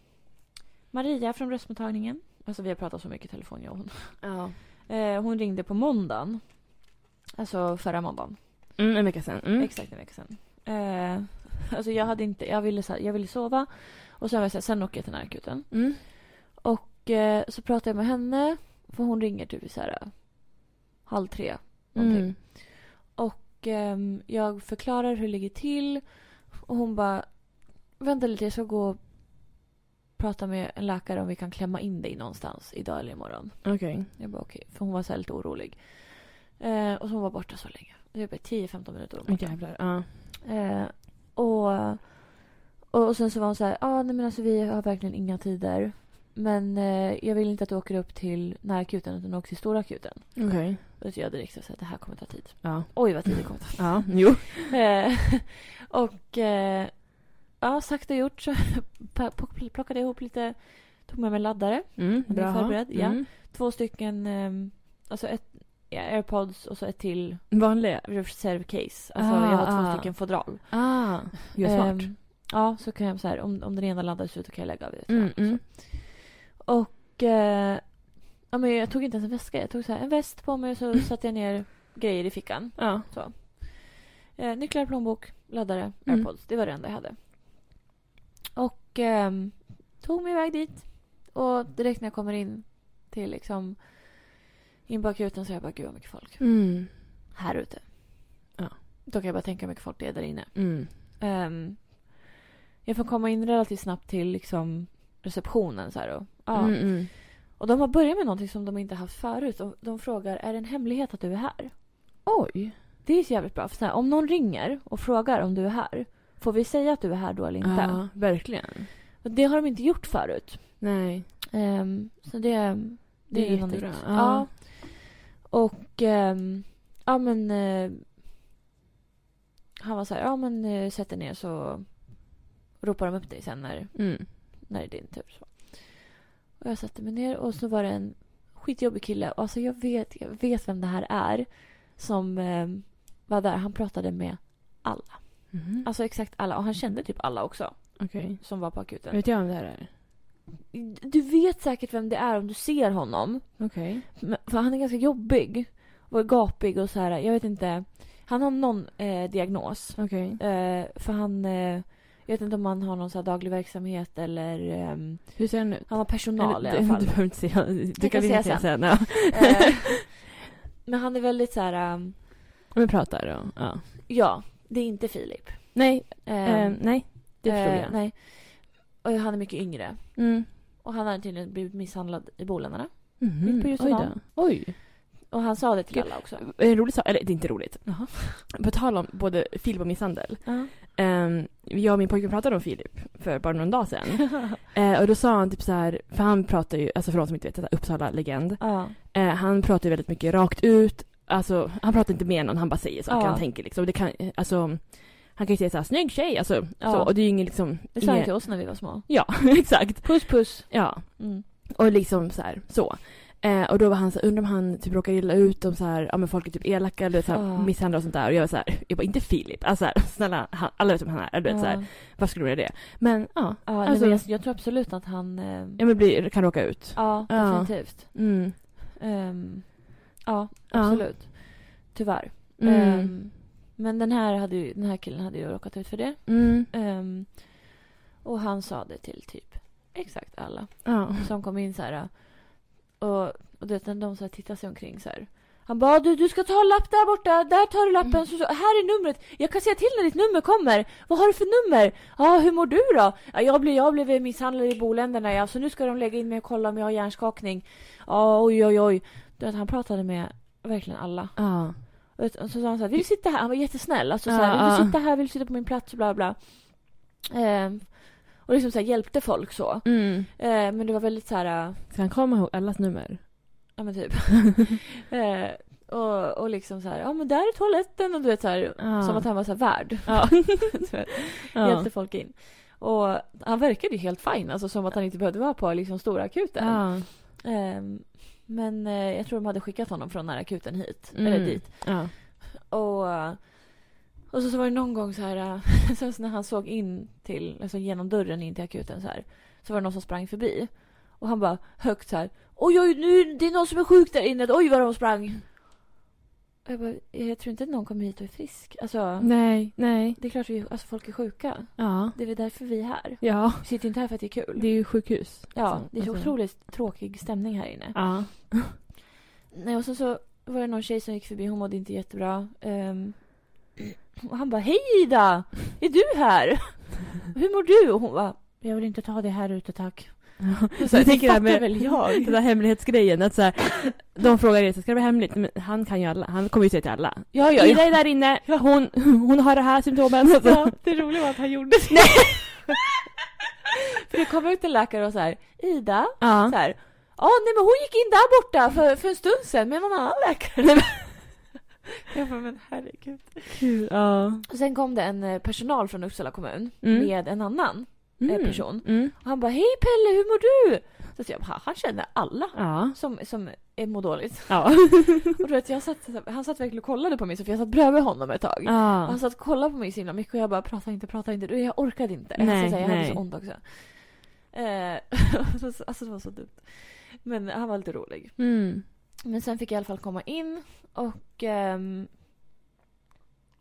Speaker 1: Maria från röstmottagningen. Alltså vi har pratat så mycket i telefon jag och hon.
Speaker 2: Ja.
Speaker 1: Eh, hon ringde på måndagen. Alltså förra måndagen.
Speaker 2: Mm, en vecka sen. Mm.
Speaker 1: Exakt en vecka sedan. Eh, alltså jag hade inte, jag ville, så här, jag ville sova. Och sen var jag så här, sen åker jag till närakuten.
Speaker 2: Mm.
Speaker 1: Och eh, så pratade jag med henne. För hon ringer typ i så här eh, halv tre. Någonting.
Speaker 2: Mm.
Speaker 1: Och ehm, jag förklarar hur det ligger till. Och hon bara, vänta lite jag ska gå och prata med en läkare om vi kan klämma in dig någonstans idag eller imorgon.
Speaker 2: Okej.
Speaker 1: Jag bara okej, för hon var så här lite orolig. Eh, och så hon var borta så länge. Det var bara 10-15 minuter. hon var borta.
Speaker 2: Åh, Jävlar. Ja.
Speaker 1: Eh, och, och, och sen så var hon så här, ah, nej men alltså vi har verkligen inga tider. Men eh, jag vill inte att du åker upp till närakuten utan du åker till storakuten.
Speaker 2: Okej.
Speaker 1: Och så jag direkt så här, det här kommer ta tid.
Speaker 2: Ja.
Speaker 1: Oj vad tid det kommer ta.
Speaker 2: Ja, jo.
Speaker 1: Eh, <laughs> och eh, ja, sagt och gjort så <laughs> pa- plock- plockade jag ihop lite, tog med mig laddare.
Speaker 2: Mm,
Speaker 1: Är ni
Speaker 2: bra.
Speaker 1: förberedd? Ja.
Speaker 2: Mm.
Speaker 1: Två stycken, ehm, alltså ett ja, airpods och så ett till
Speaker 2: Vanliga.
Speaker 1: reservcase. Alltså
Speaker 2: Ah,
Speaker 1: jag har två
Speaker 2: ah.
Speaker 1: stycken fodral.
Speaker 2: Ah. Gud, smart.
Speaker 1: Ehm, ja, så kan jag så här, om, om den ena laddar så kan jag lägga av det.
Speaker 2: Mm, mm.
Speaker 1: Och eh, ja, men jag tog inte ens en väska, jag tog så här, en väst på mig och
Speaker 2: <laughs>
Speaker 1: så satte jag ner grejer i fickan.
Speaker 2: Ja.
Speaker 1: Eh, nycklar, plånbok, laddare,
Speaker 2: Mm.
Speaker 1: airpods. Det var det enda jag hade. Och ehm, tog mig iväg dit. Och direkt när jag kommer in till liksom in på akuten så är jag bara gud vad mycket folk.
Speaker 2: Mm.
Speaker 1: Här ute.
Speaker 2: Ja.
Speaker 1: Då kan jag bara tänka hur mycket folk det är där inne.
Speaker 2: Mm.
Speaker 1: Ehm, jag får komma in relativt snabbt till liksom receptionen så här och, ja.
Speaker 2: Mm, mm.
Speaker 1: och de har börjat med någonting som de inte haft förut. De, de frågar är det en hemlighet att du är här?
Speaker 2: Oj.
Speaker 1: Det är så jävligt bra. För så här, om någon ringer och frågar om du är här, får vi säga att du är här då eller inte?
Speaker 2: Ja, verkligen.
Speaker 1: Och det har de inte gjort förut.
Speaker 2: Nej.
Speaker 1: Ehm, så det, det,
Speaker 2: Det är
Speaker 1: ju något
Speaker 2: jättebra.
Speaker 1: nytt.
Speaker 2: Ja.
Speaker 1: Ja. Och ehm, ja men eh, han var så här, ja men eh, sätt dig ner så ropar de upp dig sen när,
Speaker 2: Mm.
Speaker 1: när det är din tur. Så. Och jag satte mig ner och så var det en skitjobbig kille. Och Alltså jag vet, jag ehm, vet vem det här är som eh, var där. Han pratade med alla.
Speaker 2: Mhm.
Speaker 1: Alltså exakt alla. Och han kände typ alla också
Speaker 2: Okej.
Speaker 1: som var på akuten.
Speaker 2: Vet jag om det här är?
Speaker 1: Du vet säkert vem det är om du ser honom.
Speaker 2: Okej.
Speaker 1: Men- För han är ganska jobbig. Och gapig och så här. Jag vet inte. Han har någon eh, diagnos.
Speaker 2: Okej.
Speaker 1: Eh, för han... Eh, jag vet inte om han har någon så här daglig verksamhet eller... ehm,
Speaker 2: Hur ser den ut?
Speaker 1: han har personal
Speaker 2: Eller,
Speaker 1: i alla
Speaker 2: <laughs>
Speaker 1: fall.
Speaker 2: Du behöver inte säga. Du
Speaker 1: kan
Speaker 2: kan
Speaker 1: säga
Speaker 2: säga sen. sen ja.
Speaker 1: Eh, men han är väldigt så här... ehm,
Speaker 2: Men pratar då. Ja.
Speaker 1: ja, det är inte Filip.
Speaker 2: Nej,
Speaker 1: Ehm,
Speaker 2: eh, nej. Det förstod
Speaker 1: eh,
Speaker 2: jag.
Speaker 1: Nej. Och han är mycket yngre.
Speaker 2: Mm.
Speaker 1: Och han har tydligen blivit misshandlad i Bolänarna.
Speaker 2: Mhm.
Speaker 1: Mitt på
Speaker 2: Oj
Speaker 1: Djursholm.
Speaker 2: då. Oj.
Speaker 1: Och han sa det till
Speaker 2: Gud.
Speaker 1: alla också.
Speaker 2: Det är En rolig sak, eller det är inte roligt.
Speaker 1: Jaha.
Speaker 2: På tal om både Filip och misshandel. Ehm, jag och min pojkvän pratade om Filip för bara någon dag sedan.
Speaker 1: <laughs>
Speaker 2: Eh, och då sa han typ så här, för han pratar ju, alltså för de som inte vet, så här, Uppsala-legend.
Speaker 1: Ja.
Speaker 2: Eh, han pratar ju väldigt mycket rakt ut. Alltså, han pratar inte med någon, han bara säger saker
Speaker 1: Ja.
Speaker 2: han tänker liksom. Det kan, eh, alltså, han kan ju säga såhär, snygg tjej, alltså.
Speaker 1: Ja.
Speaker 2: Så, och det är ju ingen liksom...
Speaker 1: Det sa han
Speaker 2: ingen-
Speaker 1: till oss när vi var små.
Speaker 2: Ja, <laughs> exakt.
Speaker 1: Puss puss.
Speaker 2: Ja,
Speaker 1: Mm.
Speaker 2: och liksom så här, så. Eh, och då var han så här, undrar om han typ råkar illa ut om så här, ja men folk är typ elaka eller så här,
Speaker 1: Ja.
Speaker 2: misshandlar och sånt där. Och jag var så här, jag bara inte Filip, alltså så här, <laughs> snälla, han, alla vet vem han är. Eller, du vet, så här,
Speaker 1: Ja.
Speaker 2: varför skulle du göra det? Men ja,
Speaker 1: Ja, nej,
Speaker 2: Alltså-
Speaker 1: men jag, jag tror absolut att han... eh,
Speaker 2: jag men blir, kan råka ut.
Speaker 1: ja,
Speaker 2: Ja.
Speaker 1: definitivt.
Speaker 2: Mm.
Speaker 1: Ehm, ja,
Speaker 2: Ja.
Speaker 1: absolut. Tyvärr.
Speaker 2: Mm.
Speaker 1: Ehm, men den här, hade ju, den här killen hade ju råkat ut för det.
Speaker 2: Mm.
Speaker 1: Ehm, och han sa det till typ exakt alla
Speaker 2: Ja.
Speaker 1: <laughs> som kom in så här. Och, och du vet, när de så här tittade sig omkring så här. Han bara du, du ska ta en lapp där borta, där tar du
Speaker 2: Mm.
Speaker 1: lappen, så, så, här är numret. Jag kan säga till när ditt nummer kommer. Vad har du för nummer? Ja, hur mår du då? Ja, jag, blev, jag blev misshandlad i Boländerna ja, så nu ska de lägga in mig och kolla om jag har hjärnskakning. Ja, oj oj oj. Du vet, han pratade med verkligen alla.
Speaker 2: Ja.
Speaker 1: Och så sa han så här, vill du sitta här? Han var jättesnäll. Alltså så
Speaker 2: Ja,
Speaker 1: här, vill
Speaker 2: ja.
Speaker 1: du sitta här? Vill du sitta på min plats? Bla bla. Ehm, och liksom så här, hjälpte folk så.
Speaker 2: Mm.
Speaker 1: Ehm, men det var väldigt så här, äh,
Speaker 2: Ska han komma ihåg allas nummer?
Speaker 1: ja men typ. <laughs> Ehm, och, och liksom så här, ja men där är toaletten och du vet så här.
Speaker 2: Ja.
Speaker 1: Som att han var så här värd. <laughs>
Speaker 2: Ja.
Speaker 1: Hjälpte folk in. Och han verkade ju helt fin, alltså som att han inte behövde vara på liksom stora akuten.
Speaker 2: Ja.
Speaker 1: Ehm, men eh, jag tror de hade skickat honom från närakuten hit,
Speaker 2: Mm.
Speaker 1: eller dit.
Speaker 2: Ja.
Speaker 1: Och, och så, så var det någon gång så här, <laughs> sen så när han såg in till, alltså genom dörren in till akuten så här, så var det någon som sprang förbi. Och han bara högt så här, oj oj nu, det är någon som är sjuk där inne, oj vad de sprang. Och jag bara, jag tror inte att någon kommer hit och är frisk. Alltså,
Speaker 2: Nej, nej.
Speaker 1: det är klart vi, alltså folk är sjuka.
Speaker 2: Ja.
Speaker 1: Det är väl därför vi är här.
Speaker 2: Ja.
Speaker 1: Vi sitter inte här för att det är kul.
Speaker 2: Det är ju sjukhus.
Speaker 1: ja,
Speaker 2: Alltså,
Speaker 1: det är så
Speaker 2: alltså.
Speaker 1: otroligt tråkig stämning här inne.
Speaker 2: Ja.
Speaker 1: Nej, och sen så var det någon tjej som gick förbi, hon mådde inte jättebra. Ehm, och han bara, hej Ida! Är du här? Hur mår du? Och hon bara, jag vill inte ta det här ute <laughs> tack.
Speaker 2: Så jag
Speaker 1: Det
Speaker 2: tänker det här
Speaker 1: fattar
Speaker 2: med
Speaker 1: väl jag. <laughs>
Speaker 2: den där hemlighetsgrejen. Att så här, de frågar er, så ska det vara hemligt? Men han kan ju alla. Han kommer ju säga till alla.
Speaker 1: Ja, ja,
Speaker 2: Ida
Speaker 1: ja.
Speaker 2: är där inne. Hon, hon har det här symptomen.
Speaker 1: ja <laughs> det roliga var att han gjorde det. <laughs> För det kom ut en läkare och så här, Ida?
Speaker 2: <laughs> Ja.
Speaker 1: Så här, ja nej men hon gick in där borta för, för en stund sedan med någon annan läkare. <laughs> jag bara, men herregud.
Speaker 2: Kul. Ja.
Speaker 1: Och sen kom det en eh, personal från Uppsala kommun
Speaker 2: Mm.
Speaker 1: med en annan eh,
Speaker 2: Mm.
Speaker 1: person.
Speaker 2: Mm.
Speaker 1: Och han bara hej Pelle hur mår du? Så att jag bara, han känner alla
Speaker 2: Ja.
Speaker 1: som, som är- mår
Speaker 2: <laughs>
Speaker 1: dåligt.
Speaker 2: Ja.
Speaker 1: Och du vet, jag satt, han satt verkligen och kollade på mig så för jag satt bredvid honom ett tag. Och
Speaker 2: Ja.
Speaker 1: Han satt och kollade på mig så himla mycket och jag bara prata inte, prata inte. Du, Jag orkade inte.
Speaker 2: Nej,
Speaker 1: alltså, så här, jag hade
Speaker 2: nej.
Speaker 1: så ont också. Eh, <laughs> alltså, alltså det var så dumt. Men han var lite rolig.
Speaker 2: Mm.
Speaker 1: Men sen fick jag i alla fall komma in och ehm,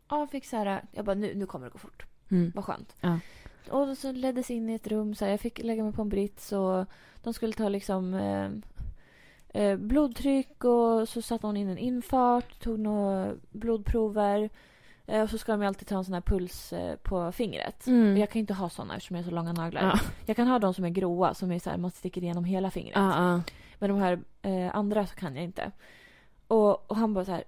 Speaker 1: ja, jag fick så här, jag bara nu, nu kommer det gå fort.
Speaker 2: Mm.
Speaker 1: Vad skönt.
Speaker 2: Ja.
Speaker 1: Och så leddes in i ett rum. Så här, jag fick lägga mig på en brits och de skulle ta liksom eh, eh, blodtryck och så satte hon in en infart, tog några blodprover. Eh, och så ska de ju alltid ta en sån här puls eh, på fingret.
Speaker 2: Mm.
Speaker 1: Och Jag kan inte ha såna eftersom jag har så långa naglar.
Speaker 2: Ja.
Speaker 1: Jag kan ha de som är gråa som är så här, man sticker igenom hela fingret.
Speaker 2: Ja, ja.
Speaker 1: Men de här eh, andra så kan jag inte. Och, och han bara så här...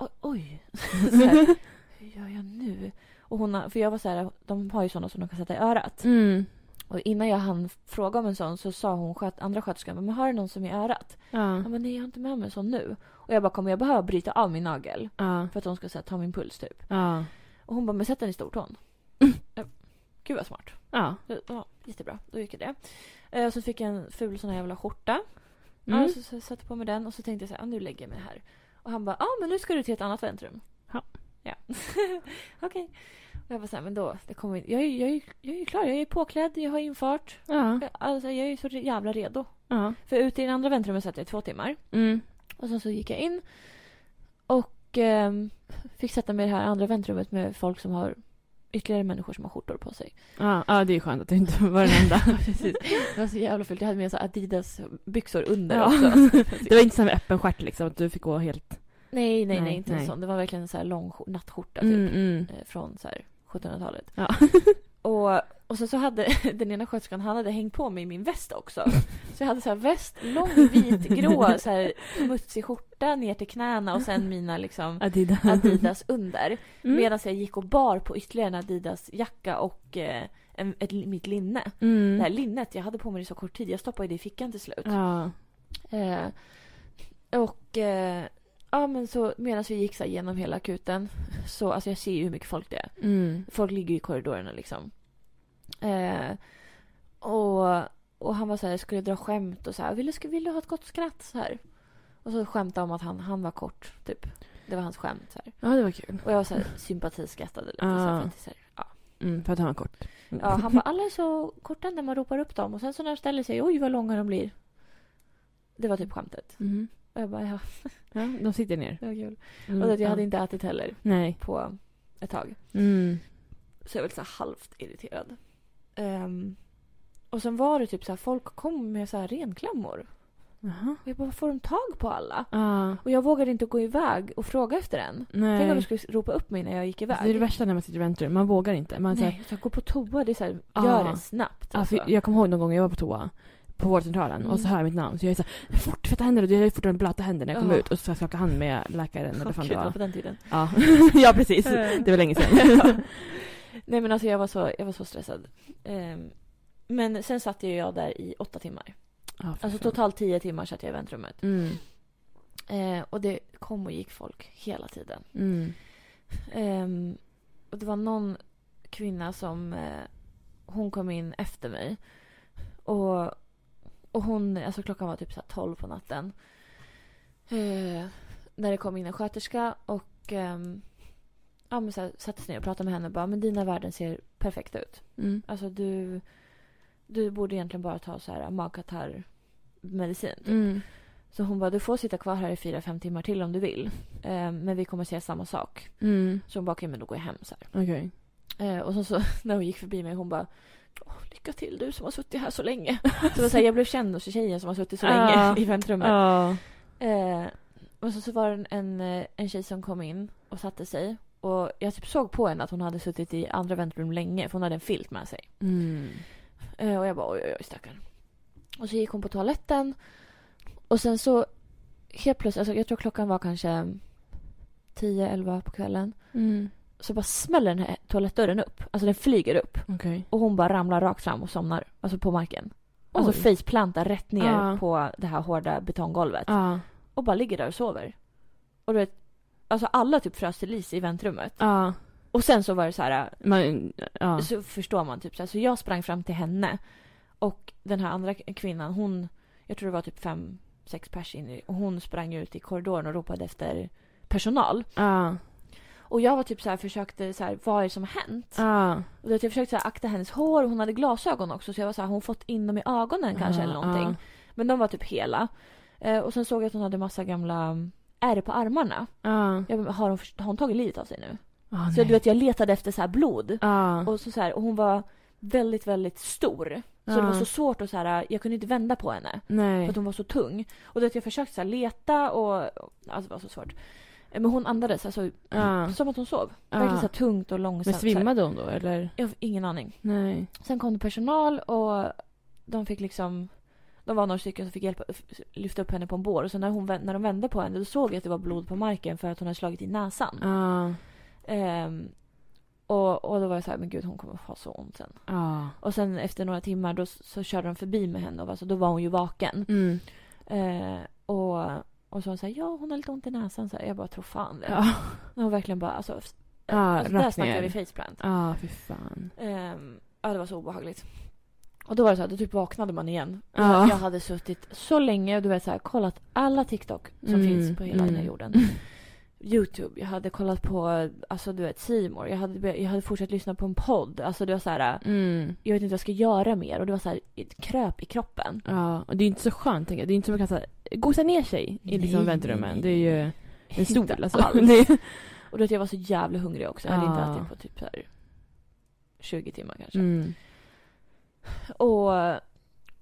Speaker 1: "O- Oj! <laughs> så här, Hur gör jag nu? Och hon, har- för jag var så här, de har ju sådana som de kan sätta i örat.
Speaker 2: Mm.
Speaker 1: Och innan jag hann fråga om en sån så sa hon, sköt, andra sköterskan, men har du någon som är i örat?
Speaker 2: Ja.
Speaker 1: Han bara, nej jag har inte med mig en sån nu. Och jag bara, kommer jag behöva bryta av min nagel?
Speaker 2: Ja.
Speaker 1: För att de ska så här, ta min puls typ.
Speaker 2: Ja.
Speaker 1: Och hon bara, men sätt den i stortån. Jag, Gud vad smart.
Speaker 2: Ja.
Speaker 1: Ja, jättebra, då gick det. Eh, Så fick jag en ful sån här jävla skjorta.
Speaker 2: Mm.
Speaker 1: Ja, så, så satte jag på mig den och så tänkte jag så här, ah, nu lägger jag mig här. Och han bara, ja <laughs> ah, men nu ska du till ett annat väntrum.
Speaker 2: Ja.
Speaker 1: Ja. Okej. Jag var så här, men då, det kommer, jag, är, ju- jag, är, ju- jag är ju klar, jag är påklädd, jag har infart.
Speaker 2: Ja.
Speaker 1: Alltså, jag är ju så jävla redo.
Speaker 2: Ja.
Speaker 1: För ute i det andra väntrummet satt jag i två timmar.
Speaker 2: Mm.
Speaker 1: Och sen så gick jag in och ehm, fick sätta mig i det här andra väntrummet med folk som har ytterligare människor som har skjortor på sig.
Speaker 2: Ja, ja, det är ju skönt att du inte <laughs> var den
Speaker 1: <laughs>
Speaker 2: enda.
Speaker 1: Precis. Det var så jävla fult. Jag hade med så Adidas byxor under
Speaker 2: Ja.
Speaker 1: också.
Speaker 2: <laughs> Det var inte som en öppen stjärt liksom, att du fick gå helt...
Speaker 1: Nej, nej, nej,
Speaker 2: Nej,
Speaker 1: inte en
Speaker 2: nej.
Speaker 1: sån. Det var verkligen en så här lång skjor- nattskjorta typ.
Speaker 2: Mm, mm.
Speaker 1: eh, Från så här 1700-talet.
Speaker 2: Ja.
Speaker 1: <laughs> Och, och sen så hade <laughs> den ena sköterskan, han hade hängt på mig min väst också. Så jag hade så här väst, lång vit
Speaker 2: <laughs>
Speaker 1: grå så här smutsig skjorta ner till knäna och sen mina
Speaker 2: <laughs>
Speaker 1: liksom
Speaker 2: Adidas.
Speaker 1: Adidas under.
Speaker 2: Mm.
Speaker 1: Medan jag gick och bar på ytterligare en Adidas-jacka och eh, en, ett, mitt linne.
Speaker 2: Mm.
Speaker 1: Det här linnet, jag hade på mig det i så kort tid. Jag stoppade det i fickan till slut.
Speaker 2: Ja.
Speaker 1: Eh, och eh, ja, men så medan vi gick så här genom hela akuten så alltså jag ser ju hur mycket folk det är.
Speaker 2: Mm.
Speaker 1: Folk ligger ju i korridorerna liksom. Eh, och, och han var så här, skulle dra skämt och så här, vill du, ska- vill du ha ett gott skratt så här? Och så skämtade han om att han, han var kort, typ. Det var hans skämt. Så här.
Speaker 2: Ja, det var kul.
Speaker 1: Och jag var så här, sympatiskattade lite. Så här,
Speaker 2: Ah.
Speaker 1: för att, det är så här, ja.
Speaker 2: Mm, för att han var kort.
Speaker 1: Ja, han bara, alla är så korta när man ropar upp dem och sen så när de ställer sig, oj vad långa de blir. Det var typ skämtet.
Speaker 2: Mm.
Speaker 1: Och jag bara, ja,
Speaker 2: Ja, de sitter ner.
Speaker 1: det var kul.
Speaker 2: Mm.
Speaker 1: Och det, jag
Speaker 2: ja.
Speaker 1: hade inte ätit heller
Speaker 2: Nej.
Speaker 1: på ett tag.
Speaker 2: Mm.
Speaker 1: Så jag var lite så här halvt irriterad. Ehm, och sen var det typ så här, folk kom med så här renklammor.
Speaker 2: Jaha.
Speaker 1: Och jag bara, får de tag på alla?
Speaker 2: Ja.
Speaker 1: Och jag vågade inte gå iväg och fråga efter en.
Speaker 2: Nej.
Speaker 1: Tänk om de skulle ropa upp mig när jag gick iväg.
Speaker 2: Alltså, det är det värsta när man sitter i väntrum. Man vågar inte. Man säger,
Speaker 1: Nej, så här, gå på toa, det är så här,
Speaker 2: Ah.
Speaker 1: gör det snabbt.
Speaker 2: ja,
Speaker 1: Alltså.
Speaker 2: för jag kommer ihåg någon gång jag var på toa på vårdcentralen och så
Speaker 1: Mm.
Speaker 2: hör jag mitt namn. Så jag är såhär, fort tvätta händerna. Jag har ju fortfarande blöta händer när jag kom
Speaker 1: Ja.
Speaker 2: ut. Och så ska jag skaka hand med läkaren eller vad fan
Speaker 1: Gud,
Speaker 2: det
Speaker 1: det var
Speaker 2: var.
Speaker 1: på den
Speaker 2: <laughs>
Speaker 1: tiden.
Speaker 2: Ja. ja, precis. Det var länge sedan.
Speaker 1: Nej men alltså jag var så, jag var så stressad. Ehm, men sen satt ju jag där i åtta timmar.
Speaker 2: Ja, för
Speaker 1: Alltså
Speaker 2: fan.
Speaker 1: totalt tio timmar satt jag i väntrummet.
Speaker 2: Mm.
Speaker 1: Eh, och det kom och gick folk hela tiden.
Speaker 2: Mm.
Speaker 1: Ehm, och det var någon kvinna som, eh, hon kom in efter mig. Och, och hon, alltså klockan var typ så här 12 på natten. Eh, när det kom in en sköterska och ehm, ja, men så här, satte sig ner och pratade med henne och bara, men dina värden ser perfekta ut.
Speaker 2: Mm.
Speaker 1: Alltså du, du borde egentligen bara ta så här typ. magkatarrmedicin.
Speaker 2: Mm.
Speaker 1: Så hon bara, du får sitta kvar här i fyra, fem timmar till om du vill. Eh, men vi kommer se samma sak.
Speaker 2: Mm.
Speaker 1: Så hon bara, okej men då går jag hem så här.
Speaker 2: Okej.
Speaker 1: Eh, och så, <laughs> så när hon gick förbi mig, hon bara, "Åh, lycka till du som har suttit här så länge. <laughs> Så det var så här, jag blev känd hos tjejen som har suttit så länge
Speaker 2: Ja.
Speaker 1: i väntrummet.
Speaker 2: Ja.
Speaker 1: Eh, och så, så var det en, en, en tjej som kom in och satte sig. Och jag typ såg på henne att hon hade suttit i andra väntrum länge för hon hade en filt med sig.
Speaker 2: Mm.
Speaker 1: Eh, Och jag bara oj, oj, oj stackarn. Och så gick hon på toaletten. Och sen så helt plötsligt, alltså jag tror klockan var kanske 10-11 på kvällen.
Speaker 2: Mm.
Speaker 1: Så bara smäller den här toalettdörren upp. Alltså den flyger upp.
Speaker 2: Okej.
Speaker 1: Och hon bara ramlar rakt fram och somnar. Alltså på marken. Alltså
Speaker 2: Oj.
Speaker 1: faceplantar rätt ner
Speaker 2: Ja.
Speaker 1: på det här hårda betonggolvet.
Speaker 2: Ja.
Speaker 1: Och bara ligger där och sover. Och du vet, alltså alla typ frös till is i väntrummet.
Speaker 2: Ja.
Speaker 1: Och sen så var det så här,
Speaker 2: Man, ja.
Speaker 1: så förstår man typ så här. Så jag sprang fram till henne och den här andra kvinnan hon, jag tror det var typ fem, sex pers in i, och hon sprang ut i korridoren och ropade efter personal.
Speaker 2: Ja.
Speaker 1: Och jag var typ så här försökte så här, vad är det som har hänt?
Speaker 2: Ja.
Speaker 1: Och då, jag försökte så här, akta hennes hår och hon hade glasögon också så jag var så här, hon fått in dem i ögonen kanske eller någonting. Men de var typ hela. Eh, och sen såg jag att hon hade massa gamla ärr på armarna.
Speaker 2: Ja.
Speaker 1: Jag bara, har hon, först- har hon tagit livet av sig nu?
Speaker 2: Ja.
Speaker 1: Så du vet jag letade efter så här blod.
Speaker 2: Ja.
Speaker 1: Och, så så här, och hon var väldigt, väldigt stor. Så det var så svårt att så här, jag kunde inte vända på henne. För
Speaker 2: Nej.
Speaker 1: att hon var så tung. Och då att jag försökte så här, leta och, alltså det var så svårt. Eh, Men hon andades, alltså
Speaker 2: Ja.
Speaker 1: som att hon sov.
Speaker 2: Ja.
Speaker 1: Verkligen så här tungt och långsamt.
Speaker 2: Men
Speaker 1: så här.
Speaker 2: svimmade hon då eller?
Speaker 1: Jag har ingen aning.
Speaker 2: Nej.
Speaker 1: Sen kom det personal och de fick liksom, de var några stycken som fick hjälpa, f- lyfta upp henne på en bår. Och sen när, hon, vä- när de vände på henne då såg jag att det var blod på marken för att hon hade slagit i näsan.
Speaker 2: Ja.
Speaker 1: Ehm, och, och då var jag så här, men gud hon kommer ha så ont sen.
Speaker 2: Ja.
Speaker 1: Och sen efter några timmar då så körde de förbi med henne och alltså, då var hon ju vaken.
Speaker 2: Mm.
Speaker 1: Eh, och, och så var hon så här, ja hon har lite ont i näsan. Så här, jag bara tror fan det.
Speaker 2: Ja.
Speaker 1: Och Hon verkligen bara, alltså, f-
Speaker 2: Ja,
Speaker 1: alltså där
Speaker 2: rakt
Speaker 1: snackar
Speaker 2: ner.
Speaker 1: vi faceplant.
Speaker 2: Ja, fy fan.
Speaker 1: Ehm, ja det var så obehagligt. Och då var det så här, då typ vaknade man igen.
Speaker 2: Ja.
Speaker 1: Jag hade suttit så länge och du vet så här, kollat alla TikTok som
Speaker 2: Mm,
Speaker 1: finns på hela den här
Speaker 2: mm.
Speaker 1: jorden. Youtube, jag hade kollat på, alltså du vet, C More. jag hade, be- jag hade fortsatt lyssna på en podd. Alltså det var så här,
Speaker 2: Mm.
Speaker 1: jag vet inte vad jag ska göra mer. Och det var så här, ett kröp i kroppen.
Speaker 2: Ja, och det är inte så skönt tänker jag. Det är inte som man kan så här, gosa ner sig i liksom
Speaker 1: Nej.
Speaker 2: väntrummen. Det är ju en stol
Speaker 1: Inte
Speaker 2: alltså. <laughs>
Speaker 1: alls.
Speaker 2: Det är-
Speaker 1: Och då att jag var så jävla hungrig också. Jag hade inte
Speaker 2: Ah.
Speaker 1: ätit på typ så här 20 timmar kanske.
Speaker 2: Mm.
Speaker 1: Och,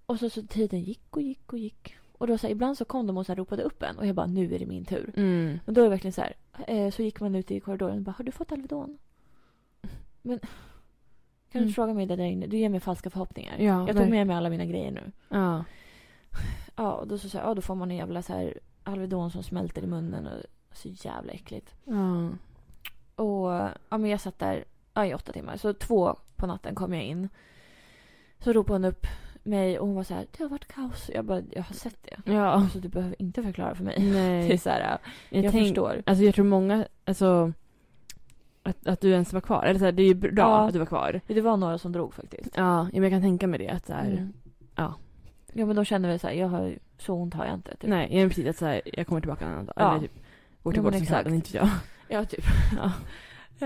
Speaker 1: och så, så tiden gick och gick och gick. Och då så här, ibland så kom de och så här, ropade upp en och jag bara nu är det min tur.
Speaker 2: Mm.
Speaker 1: Men då är det verkligen så här, eh, så gick man ut i korridoren och bara har du fått Alvedon? Men kan du
Speaker 2: Mm.
Speaker 1: inte fråga mig det där inne? Du ger mig falska förhoppningar.
Speaker 2: Ja,
Speaker 1: jag tog
Speaker 2: verkligen.
Speaker 1: med mig alla mina grejer nu.
Speaker 2: Ja.
Speaker 1: Ja, och då så, så här, ja, då får man en jävla så här Alvedon som smälter i munnen och så jävla äckligt.
Speaker 2: ja.
Speaker 1: Och ja, men jag satt där ja, i åtta timmar. Så två på natten kom jag in. Så ropade hon upp mig och hon var så här, det har varit kaos. Jag bara, jag har sett det. <laughs>
Speaker 2: Ja.
Speaker 1: Alltså du behöver inte förklara för mig. <laughs> Det är
Speaker 2: Nej.
Speaker 1: så här,
Speaker 2: Jag,
Speaker 1: jag,
Speaker 2: tänk-
Speaker 1: förstår.
Speaker 2: Alltså jag tror många, alltså att, att du ens var kvar. Eller så här, det är ju bra
Speaker 1: Ja.
Speaker 2: att du var kvar.
Speaker 1: Det var några som drog faktiskt.
Speaker 2: Ja, men jag kan tänka mig det. Att så här,
Speaker 1: Mm.
Speaker 2: ja.
Speaker 1: Ja men de känner väl såhär, jag har, så ont har jag inte. Typ.
Speaker 2: Nej, jag är precis att så här, jag kommer tillbaka en annan dag.
Speaker 1: Ja.
Speaker 2: Eller typ, går
Speaker 1: Ja,
Speaker 2: till
Speaker 1: men
Speaker 2: vårdcentralen, inte jag.
Speaker 1: Ja typ. <laughs>
Speaker 2: Ja.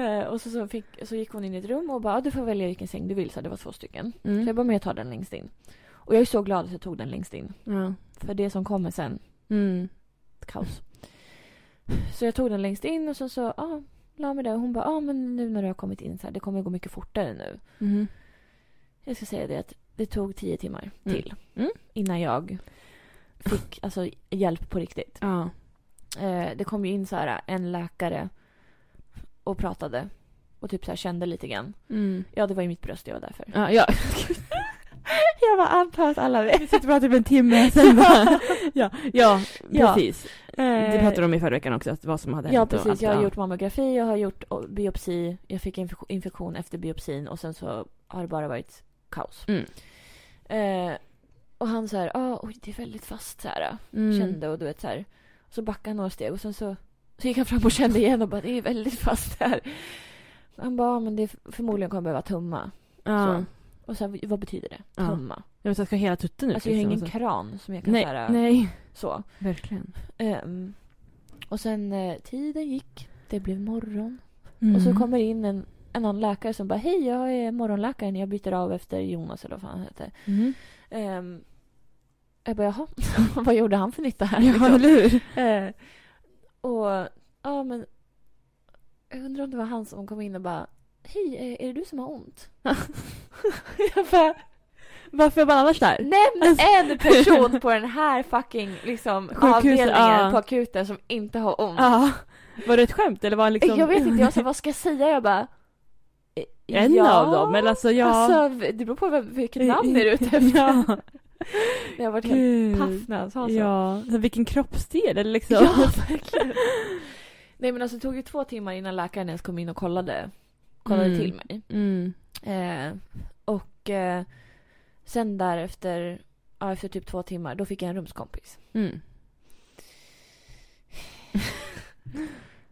Speaker 1: Eh, och så, så, fick, så gick hon in i ett rum och bara, "Ja, du får välja vilken säng du vill. Så här, det var två stycken. Så
Speaker 2: Mm.
Speaker 1: jag bara, men jag tar den längst in. Och jag är så glad att jag tog den längst in.
Speaker 2: Ja.
Speaker 1: För det som kommer sen,
Speaker 2: Mm.
Speaker 1: kaos. Så jag tog den längst in och sen så, ja, la mig där. Och hon bara, ja ah, men nu när du har kommit in så här, det kommer gå mycket fortare nu.
Speaker 2: Mhm.
Speaker 1: Jag ska säga det att det tog tio timmar
Speaker 2: Mm.
Speaker 1: till.
Speaker 2: Mm.
Speaker 1: Innan jag fick alltså, hjälp på riktigt.
Speaker 2: Ja.
Speaker 1: Eh, det kom ju in så här, en läkare och pratade. Och typ så här kände lite grann.
Speaker 2: Mm.
Speaker 1: Ja, det var ju mitt bröst, det var därför. <laughs>
Speaker 2: Ja, ja.
Speaker 1: Jag bara antar att alla vet.
Speaker 2: Vi sitter och pratar typ en
Speaker 1: <laughs>
Speaker 2: timme sen bara, ja, ja,
Speaker 1: Ja.
Speaker 2: precis.
Speaker 1: Eh,
Speaker 2: Det pratade de om i förra veckan också, att vad som hade
Speaker 1: Ja,
Speaker 2: hänt och
Speaker 1: precis.
Speaker 2: allt,
Speaker 1: Jag har
Speaker 2: ja.
Speaker 1: gjort mammografi, jag har gjort o- biopsi. Jag fick inf- infektion efter biopsin och sen så har det bara varit kaos.
Speaker 2: Mm.
Speaker 1: Eh, och han så här, ah, oj, det är väldigt fast så här.
Speaker 2: Mm.
Speaker 1: Kände och du vet så här. Så backade han några steg och sen så, så gick han fram och kände igen och bara, det är väldigt fast här. Han bara, ah, men det är, förmodligen kommer jag behöva tumma.
Speaker 2: Ja.
Speaker 1: Så. Och sen, vad betyder det?
Speaker 2: Ja.
Speaker 1: Tumma.
Speaker 2: Jag vet att jag ska ha hela tutten ut liksom,
Speaker 1: Alltså jag har ingen
Speaker 2: och
Speaker 1: kran som jag
Speaker 2: så.
Speaker 1: kan
Speaker 2: Nej,
Speaker 1: såhär,
Speaker 2: nej.
Speaker 1: så.
Speaker 2: Verkligen.
Speaker 1: Ehm, och sen eh, tiden gick, det blev morgon. Och
Speaker 2: Mm.
Speaker 1: så kommer in en, en annan läkare som bara hej jag är morgonläkaren, jag byter av efter Jonas eller vad fan han heter.
Speaker 2: <laughs> Mm.
Speaker 1: Ehm, jag bara jaha, <laughs> vad gjorde han för nytta här?
Speaker 2: Ja,
Speaker 1: liksom?
Speaker 2: eller hur?
Speaker 1: Eh, och ja men jag undrar om det var han som kom in och bara hej eh, är det du som har ont? jag bara
Speaker 2: Varför är man annars där?
Speaker 1: Nämn en person på den här fucking <laughs> liksom,
Speaker 2: Sjukhuset,
Speaker 1: avdelningen
Speaker 2: ja.
Speaker 1: på akuten som inte har ont.
Speaker 2: Ja. Var det ett skämt eller var han liksom...
Speaker 1: Jag vet inte, <laughs> jag sa vad ska jag säga? Jag bara... eh,
Speaker 2: <laughs> En
Speaker 1: ja,
Speaker 2: av dem, eller alltså jag...
Speaker 1: Alltså, det beror på vem, vilket namn är du ute efter.
Speaker 2: Eh, <laughs> Ja,
Speaker 1: <laughs> Jag har varit helt paff
Speaker 2: gud.
Speaker 1: när han sa så.
Speaker 2: Ja, så vilken kroppsdel eller liksom.
Speaker 1: <laughs> Ja, verkligen. Nej men alltså det tog ju två timmar innan läkaren ens kom in och kollade, kollade
Speaker 2: Mm.
Speaker 1: till mig.
Speaker 2: <laughs> Mm.
Speaker 1: Eh, och eh, sen därefter, ja, efter typ två timmar, då fick jag en rumskompis.
Speaker 2: Mm.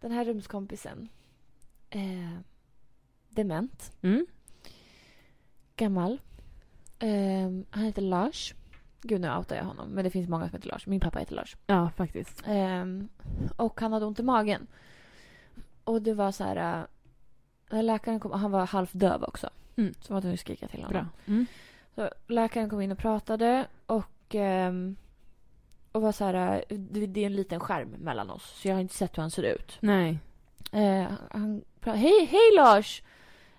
Speaker 1: Den här rumskompisen. Eh, dement.
Speaker 2: Mm.
Speaker 1: Gammal. Eh, han heter Lars. Gud, nu outar jag honom. Men det finns många som heter Lars. Min pappa heter Lars.
Speaker 2: Ja, faktiskt.
Speaker 1: Eh, och han hade ont i magen. Och det var så här... eh, När läkaren kom, han var halvdöv också.
Speaker 2: Mm.
Speaker 1: Så man var tvungen att skrika till honom.
Speaker 2: Bra. Mm.
Speaker 1: Så läkaren kom in och pratade och, ehm, och var så här... eh, Det det är en liten skärm mellan oss. Så jag har inte sett hur han ser ut.
Speaker 2: Nej.
Speaker 1: Eh, han pra- hej, hej Lars!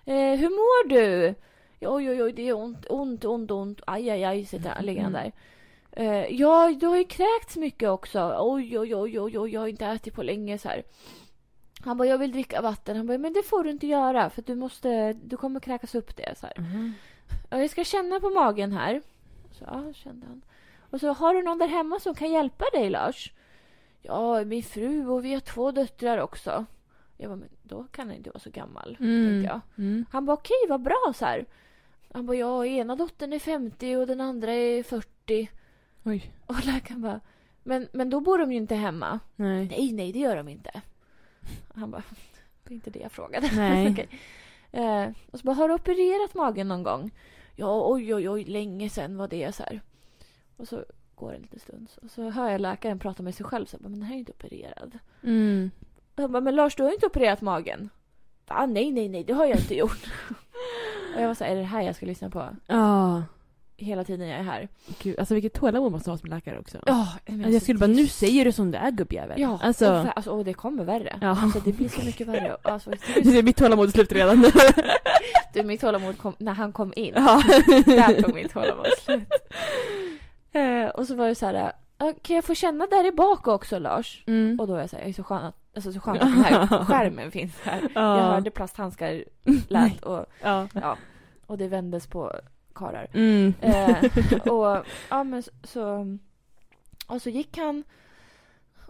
Speaker 1: Eh, hur mår du? Oj, oj, oj, det är ont, ont, ont, ont. Aj, aj, aj, sitter han, ligger han där. Eh, ja, du har ju kräkts mycket också. Oj, oj, oj, oj, oj, jag har inte ätit på länge så här. Han bara, jag vill dricka vatten. Han bara, men det får du inte göra för att du måste, du kommer kräkas upp det så här.
Speaker 2: Mhm.
Speaker 1: Ja, jag ska känna på magen här. Så, ja, kände han. Och så, har du någon där hemma som kan hjälpa dig, Lars? Ja, min fru och vi har två döttrar också. Jag bara, men då kan han inte vara så gammal,
Speaker 2: Mm.
Speaker 1: tänkte jag.
Speaker 2: Mm.
Speaker 1: Han bara, okej, vad bra så här. Han bara, ja, ena dottern är 50 och den andra är 40.
Speaker 2: Oj.
Speaker 1: <laughs> Och läkaren bara, men, men då bor de ju inte hemma.
Speaker 2: Nej.
Speaker 1: Nej, nej, det gör de inte. Han bara, det är inte det jag frågade. <laughs>
Speaker 2: Nej.
Speaker 1: Okej. eh, och så bara, har du opererat magen någon gång? Ja, oj, oj, oj, länge sedan var det så här. Och så går det en liten stund. Och så hör jag läkaren prata med sig själv. Så jag bara, men den här är ju inte opererad.
Speaker 2: Mm.
Speaker 1: Han bara, men Lars du har ju inte opererat magen. Ah, nej, nej, nej, det har jag inte <laughs> gjort. och jag var så här, är det här jag ska lyssna på
Speaker 2: Ja.
Speaker 1: hela tiden jag är här?
Speaker 2: Gud, alltså vilket tålamod man måste ha som läkare också.
Speaker 1: Ja, men
Speaker 2: Alltså, jag skulle bara, nu säger du som det är gubbjävel.
Speaker 1: Ja, alltså... och,
Speaker 2: Alltså,
Speaker 1: för, alltså, och det kommer värre.
Speaker 2: Ja. <laughs>
Speaker 1: Alltså, det blir så mycket värre. Alltså,
Speaker 2: du ser, mitt tålamod är slut redan nu.
Speaker 1: du, mitt tålamod kom, när han kom in.
Speaker 2: ja.
Speaker 1: <laughs> Där tog mitt tålamod
Speaker 2: <laughs>
Speaker 1: slut. Eh, och så var det så här, "Ah, kan jag få känna där i bak också Lars?
Speaker 2: <laughs> Mm.
Speaker 1: Och då är jag så här, jag är så skön att, alltså, så skönt att den
Speaker 2: <laughs>
Speaker 1: här skärmen finns här.
Speaker 2: ja.
Speaker 1: Jag hörde
Speaker 2: <laughs>
Speaker 1: plasthandskar lät och,
Speaker 2: Ja.
Speaker 1: och det vändes på
Speaker 2: <laughs>
Speaker 1: karar.
Speaker 2: Mm.
Speaker 1: Eh, och, ja, men så- så, och så gick han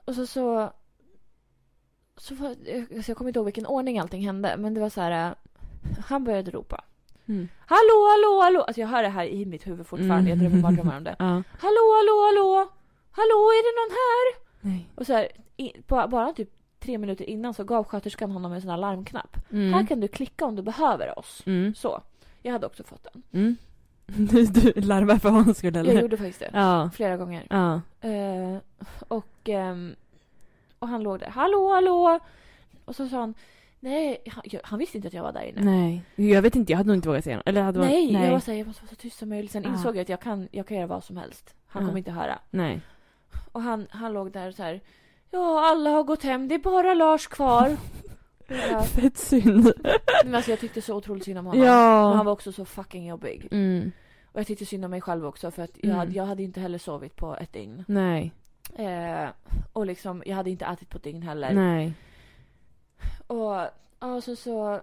Speaker 1: och så så, så var, alltså jag kommer inte ihåg vilken ordning allting hände men det var så här, eh, han började ropa.
Speaker 2: Mm.
Speaker 1: Hallå, hallå, hallå! Alltså jag hör det här i mitt huvud fortfarande,
Speaker 2: Mm.
Speaker 1: jag drömmer mardrömmar om det.
Speaker 2: Ja.
Speaker 1: Hallå, hallå, hallå! Hallå, är det någon här?
Speaker 2: Nej.
Speaker 1: Och så här, i, bara, bara typ tre minuter innan så gav sköterskan honom en sån här larmknapp.
Speaker 2: Mm.
Speaker 1: Här kan du klicka om du behöver oss.
Speaker 2: Mm.
Speaker 1: Så. Jag hade också fått den.
Speaker 2: Mm. <laughs> Du, du larvar för hans skull eller?
Speaker 1: Jag gjorde faktiskt det.
Speaker 2: Ja.
Speaker 1: Flera gånger.
Speaker 2: Ja.
Speaker 1: Eh, och, ehm, och han låg där. Hallå, hallå! Och så sa han. Nej, han, jag- han visste inte att jag var där inne.
Speaker 2: Nej. Jag vet inte, jag hade nog inte vågat säga något. Eller hade varit-
Speaker 1: Nej,
Speaker 2: nej. Ah.
Speaker 1: jag var såhär, jag måste vara så tyst som möjligt. Sen
Speaker 2: Ja.
Speaker 1: insåg jag att jag kan, jag kan göra vad som helst. Han
Speaker 2: Ja.
Speaker 1: kommer inte höra.
Speaker 2: Nej.
Speaker 1: Och han, han låg där så här. Ja, alla har gått hem. Det är bara Lars kvar. Och jag,
Speaker 2: Fett synd.
Speaker 1: men alltså, jag tyckte så otroligt synd om honom.
Speaker 2: <laughs> Ja.
Speaker 1: Och han var också så fucking jobbig.
Speaker 2: Mm.
Speaker 1: Och jag tyckte synd om mig själv också för att jag,
Speaker 2: Mm.
Speaker 1: hade, jag hade inte heller sovit på ett dygn.
Speaker 2: Nej.
Speaker 1: Eh, och liksom, jag hade inte ätit på ett dygn heller.
Speaker 2: Nej.
Speaker 1: Och ja, så, så,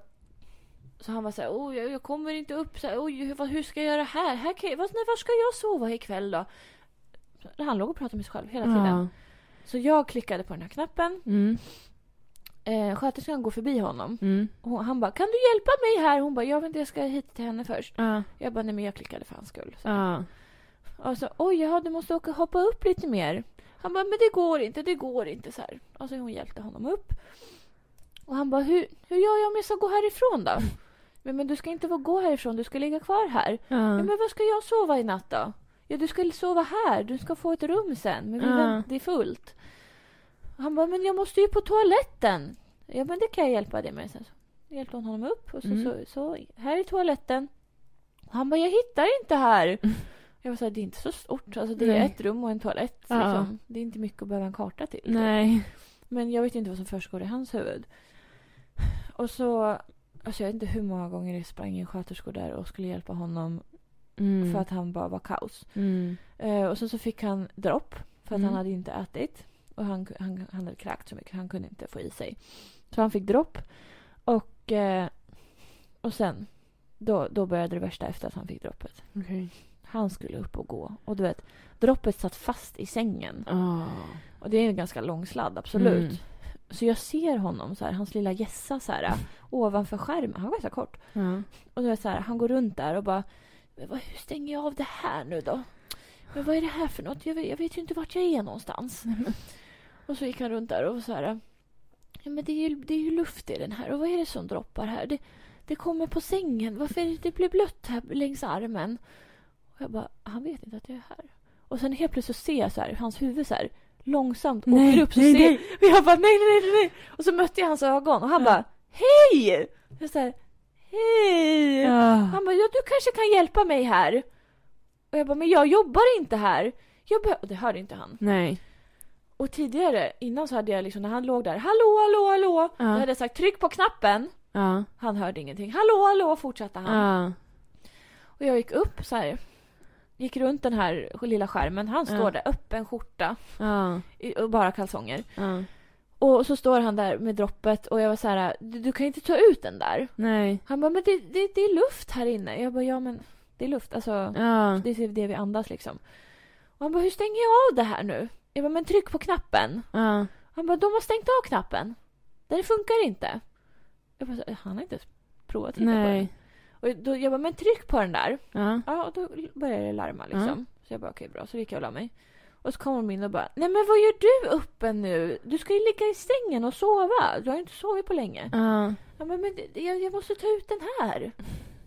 Speaker 1: så han var så här, oh, jag, jag kommer inte upp. Så här, Oj, hur, vad, hur ska jag göra här? här kan jag, vad, när, var ska jag sova ikväll då? Han låg och pratade med sig själv hela tiden.
Speaker 2: Ja.
Speaker 1: Så jag klickade på den här knappen.
Speaker 2: Mm.
Speaker 1: Eh, sköterskan går förbi honom.
Speaker 2: Mm.
Speaker 1: Och han bara, kan du hjälpa mig här? Hon bara, jag vet inte, jag ska hit till henne först.
Speaker 2: Ja.
Speaker 1: Jag bara, nej men jag klickade för hans skull. Så.
Speaker 2: Ja.
Speaker 1: Och så, oj, jaha, du måste åka hoppa upp lite mer. Han bara, men det går inte, det går inte så här. Och så hon hjälpte honom upp. Och han bara, hur, hur gör jag om jag ska gå härifrån då? Men, men du ska inte få gå härifrån, du ska ligga kvar här. Ja,
Speaker 2: Ja.
Speaker 1: men vad ska jag sova i natt då? Ja, du ska sova här, du ska få ett rum sen. Men vi
Speaker 2: Ja.
Speaker 1: vänt- det är fullt. Han bara, men jag måste ju på toaletten. Ja, men det kan jag hjälpa dig med. Sen så hjälpte hon honom upp och så,
Speaker 2: Mm.
Speaker 1: så, så här är toaletten. Och han bara, jag hittar inte här. Jag var så här, det är inte så stort. Alltså, det är
Speaker 2: Nej.
Speaker 1: ett rum och en toalett.
Speaker 2: Ja.
Speaker 1: Liksom. Det är inte mycket att behöva en karta till.
Speaker 2: Nej.
Speaker 1: Men jag vet inte vad som försiggår i hans huvud. Och så, alltså jag vet inte hur många gånger det sprang in sköterskor där och skulle hjälpa honom
Speaker 2: Mm.
Speaker 1: för att han bara var kaos.
Speaker 2: Mm.
Speaker 1: Eh, och sen så fick han dropp för att
Speaker 2: Mm.
Speaker 1: han hade inte ätit. Och han, han, han hade kräkt så mycket, han kunde inte få i sig. Så han fick dropp. Och, eh, och sen, då, då började det värsta efter att han fick droppet.
Speaker 2: Okej.
Speaker 1: Han skulle upp och gå. Och du vet, droppet satt fast i sängen.
Speaker 2: Ah.
Speaker 1: Och det är en ganska lång sladd, absolut.
Speaker 2: Mm.
Speaker 1: Så jag ser honom, så här, hans lilla gässa så här, ovanför skärmen. Han var ganska kort.
Speaker 2: Ja.
Speaker 1: Och du vet så här, han går runt där och bara men vad, Hur stänger jag av det här nu då? Men vad är det här för något? Jag vet, jag vet ju inte vart jag är
Speaker 2: <laughs>
Speaker 1: någonstans. och så gick han runt där och så här ja, men det, är ju, det är ju luft i den här och vad är det som droppar här? Det, det kommer på sängen. Varför är det, det blir blött här längs armen? Och jag bara, han vet inte att jag är här. Och sen helt plötsligt så ser jag så här, hans huvud så här långsamt åker
Speaker 2: Nej,
Speaker 1: upp. Så
Speaker 2: nej,
Speaker 1: ser,
Speaker 2: nej.
Speaker 1: Och <laughs> jag bara, nej, nej, nej, nej. Och så mötte jag hans ögon och han
Speaker 2: Ja.
Speaker 1: bara, hej! Jag så här, hej!
Speaker 2: Ja.
Speaker 1: Han bara, ja, du kanske kan hjälpa mig här. Och jag bara, men jag jobbar inte här. Jag behö-" och det hörde inte han.
Speaker 2: Nej.
Speaker 1: Och tidigare, innan så hade jag liksom när han låg där, hallå, hallå, hallå.
Speaker 2: Ja.
Speaker 1: Då hade jag sagt tryck på knappen.
Speaker 2: Ja.
Speaker 1: Han hörde ingenting. Hallå, hallå, fortsatte han.
Speaker 2: Ja.
Speaker 1: Och jag gick upp så här. Gick runt den här lilla skärmen. Han
Speaker 2: Ja.
Speaker 1: står där, öppen skjorta
Speaker 2: Ja.
Speaker 1: i- och bara kalsonger.
Speaker 2: Ja.
Speaker 1: Och så står han där med droppet och jag var så här, du, du kan inte ta ut den där.
Speaker 2: Nej.
Speaker 1: Han bara, men det, det, det är luft här inne. Jag bara, ja men det är luft. Alltså,
Speaker 2: Ja.
Speaker 1: Det är det vi andas liksom. Och han bara, hur stänger jag av det här nu? Jag bara, men tryck på knappen.
Speaker 2: Ja.
Speaker 1: Han bara, de har stängt av knappen. Den funkar inte. Jag bara, så här, han har inte ens provat att titta
Speaker 2: Nej.
Speaker 1: på den. Och då, jag bara, men tryck på den där.
Speaker 2: Ja.
Speaker 1: Ja, och då började det larma liksom.
Speaker 2: Ja.
Speaker 1: Så jag bara, okej bra. Så gick jag och la mig. Och så kom de in och bara, nej men vad gör du uppe nu? Du ska ju ligga i sängen och sova. Du har ju inte sovit på länge.
Speaker 2: Ja.
Speaker 1: Ja, men, men det- jag, jag måste ta ut den här.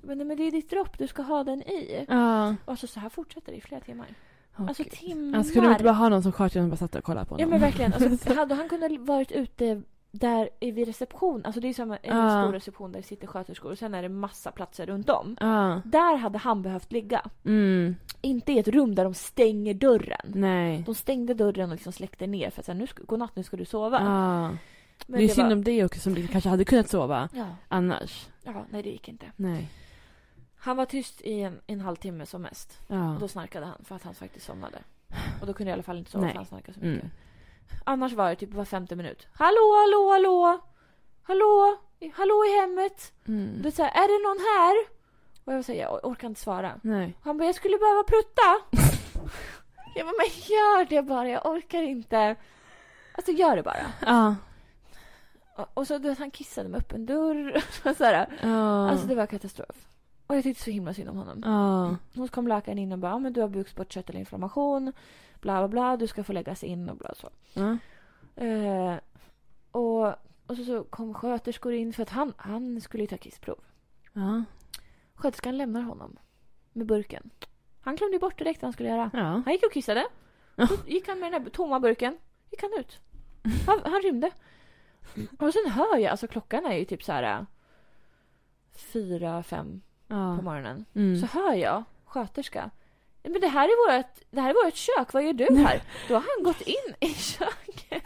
Speaker 1: Men, men det är ditt dropp, du ska ha den i.
Speaker 2: Ja.
Speaker 1: Alltså så här fortsätter det i flera timmar.
Speaker 2: Åh,
Speaker 1: Alltså
Speaker 2: gud.
Speaker 1: timmar.
Speaker 2: Han skulle inte bara ha någon som sköter honom och bara satt och kollade på honom. <laughs>
Speaker 1: Ja men verkligen. Alltså, hade han kunnat varit ute där är vid reception, alltså det är som en
Speaker 2: Ja.
Speaker 1: stor reception där det sitter sköterskor och sen är det massa platser runt om.
Speaker 2: Ja.
Speaker 1: Där hade han behövt ligga.
Speaker 2: Mm.
Speaker 1: Inte i ett rum där de stänger dörren.
Speaker 2: Nej.
Speaker 1: De stängde dörren och liksom släckte ner för att säga nu ska, godnatt nu ska du sova.
Speaker 2: Ja.
Speaker 1: Men
Speaker 2: Det är synd
Speaker 1: var-
Speaker 2: om det också som liksom kanske hade kunnat sova
Speaker 1: ja,
Speaker 2: annars.
Speaker 1: ja, nej det gick inte.
Speaker 2: Nej.
Speaker 1: Han var tyst i en, en halvtimme som mest.
Speaker 2: Ja.
Speaker 1: Då snarkade han för att han faktiskt somnade. Och då kunde jag i alla fall inte sova
Speaker 2: Nej.
Speaker 1: för han snarkade så mycket.
Speaker 2: Mm.
Speaker 1: Annars var det typ var femte minut. Hallå, hallå, hallå! Hallå! I- Hallå i hemmet!
Speaker 2: Mm.
Speaker 1: Då sa jag, är det någon här? Och jag säger, jag orkar inte svara.
Speaker 2: Nej.
Speaker 1: Han bara, jag skulle behöva prutta! <laughs> jag bara, men gör det bara, jag orkar inte. Alltså gör det bara.
Speaker 2: Ja.
Speaker 1: Och- Och så du vet, han kissade med öppen dörr. <laughs> så här.
Speaker 2: Ja.
Speaker 1: Alltså det var katastrof. Och jag tyckte så himla synd om honom.
Speaker 2: Ja.
Speaker 1: Hon kom läkaren in och bara, ja, men du har bukspottkörtelinflammation, bla bla bla, du ska få läggas in och bla så.
Speaker 2: Ja.
Speaker 1: Eh, och och så, så kom sköterskor in för att han, han skulle ju ta kissprov.
Speaker 2: Ja.
Speaker 1: Sköterskan lämnar honom med burken. Han glömde ju bort direkt vad han skulle göra.
Speaker 2: Ja.
Speaker 1: Han gick och kissade.
Speaker 2: Ja.
Speaker 1: Så gick han med den där tomma burken. Gick han ut. Han, han rymde. Och sen hör jag, alltså klockan är ju typ så här eh, fyra, fem på
Speaker 2: Ja.
Speaker 1: morgonen.
Speaker 2: Mm.
Speaker 1: Så hör jag sköterska. Men det här är vårt, det här är vårt kök, vad gör du här? Då har han gått in i köket.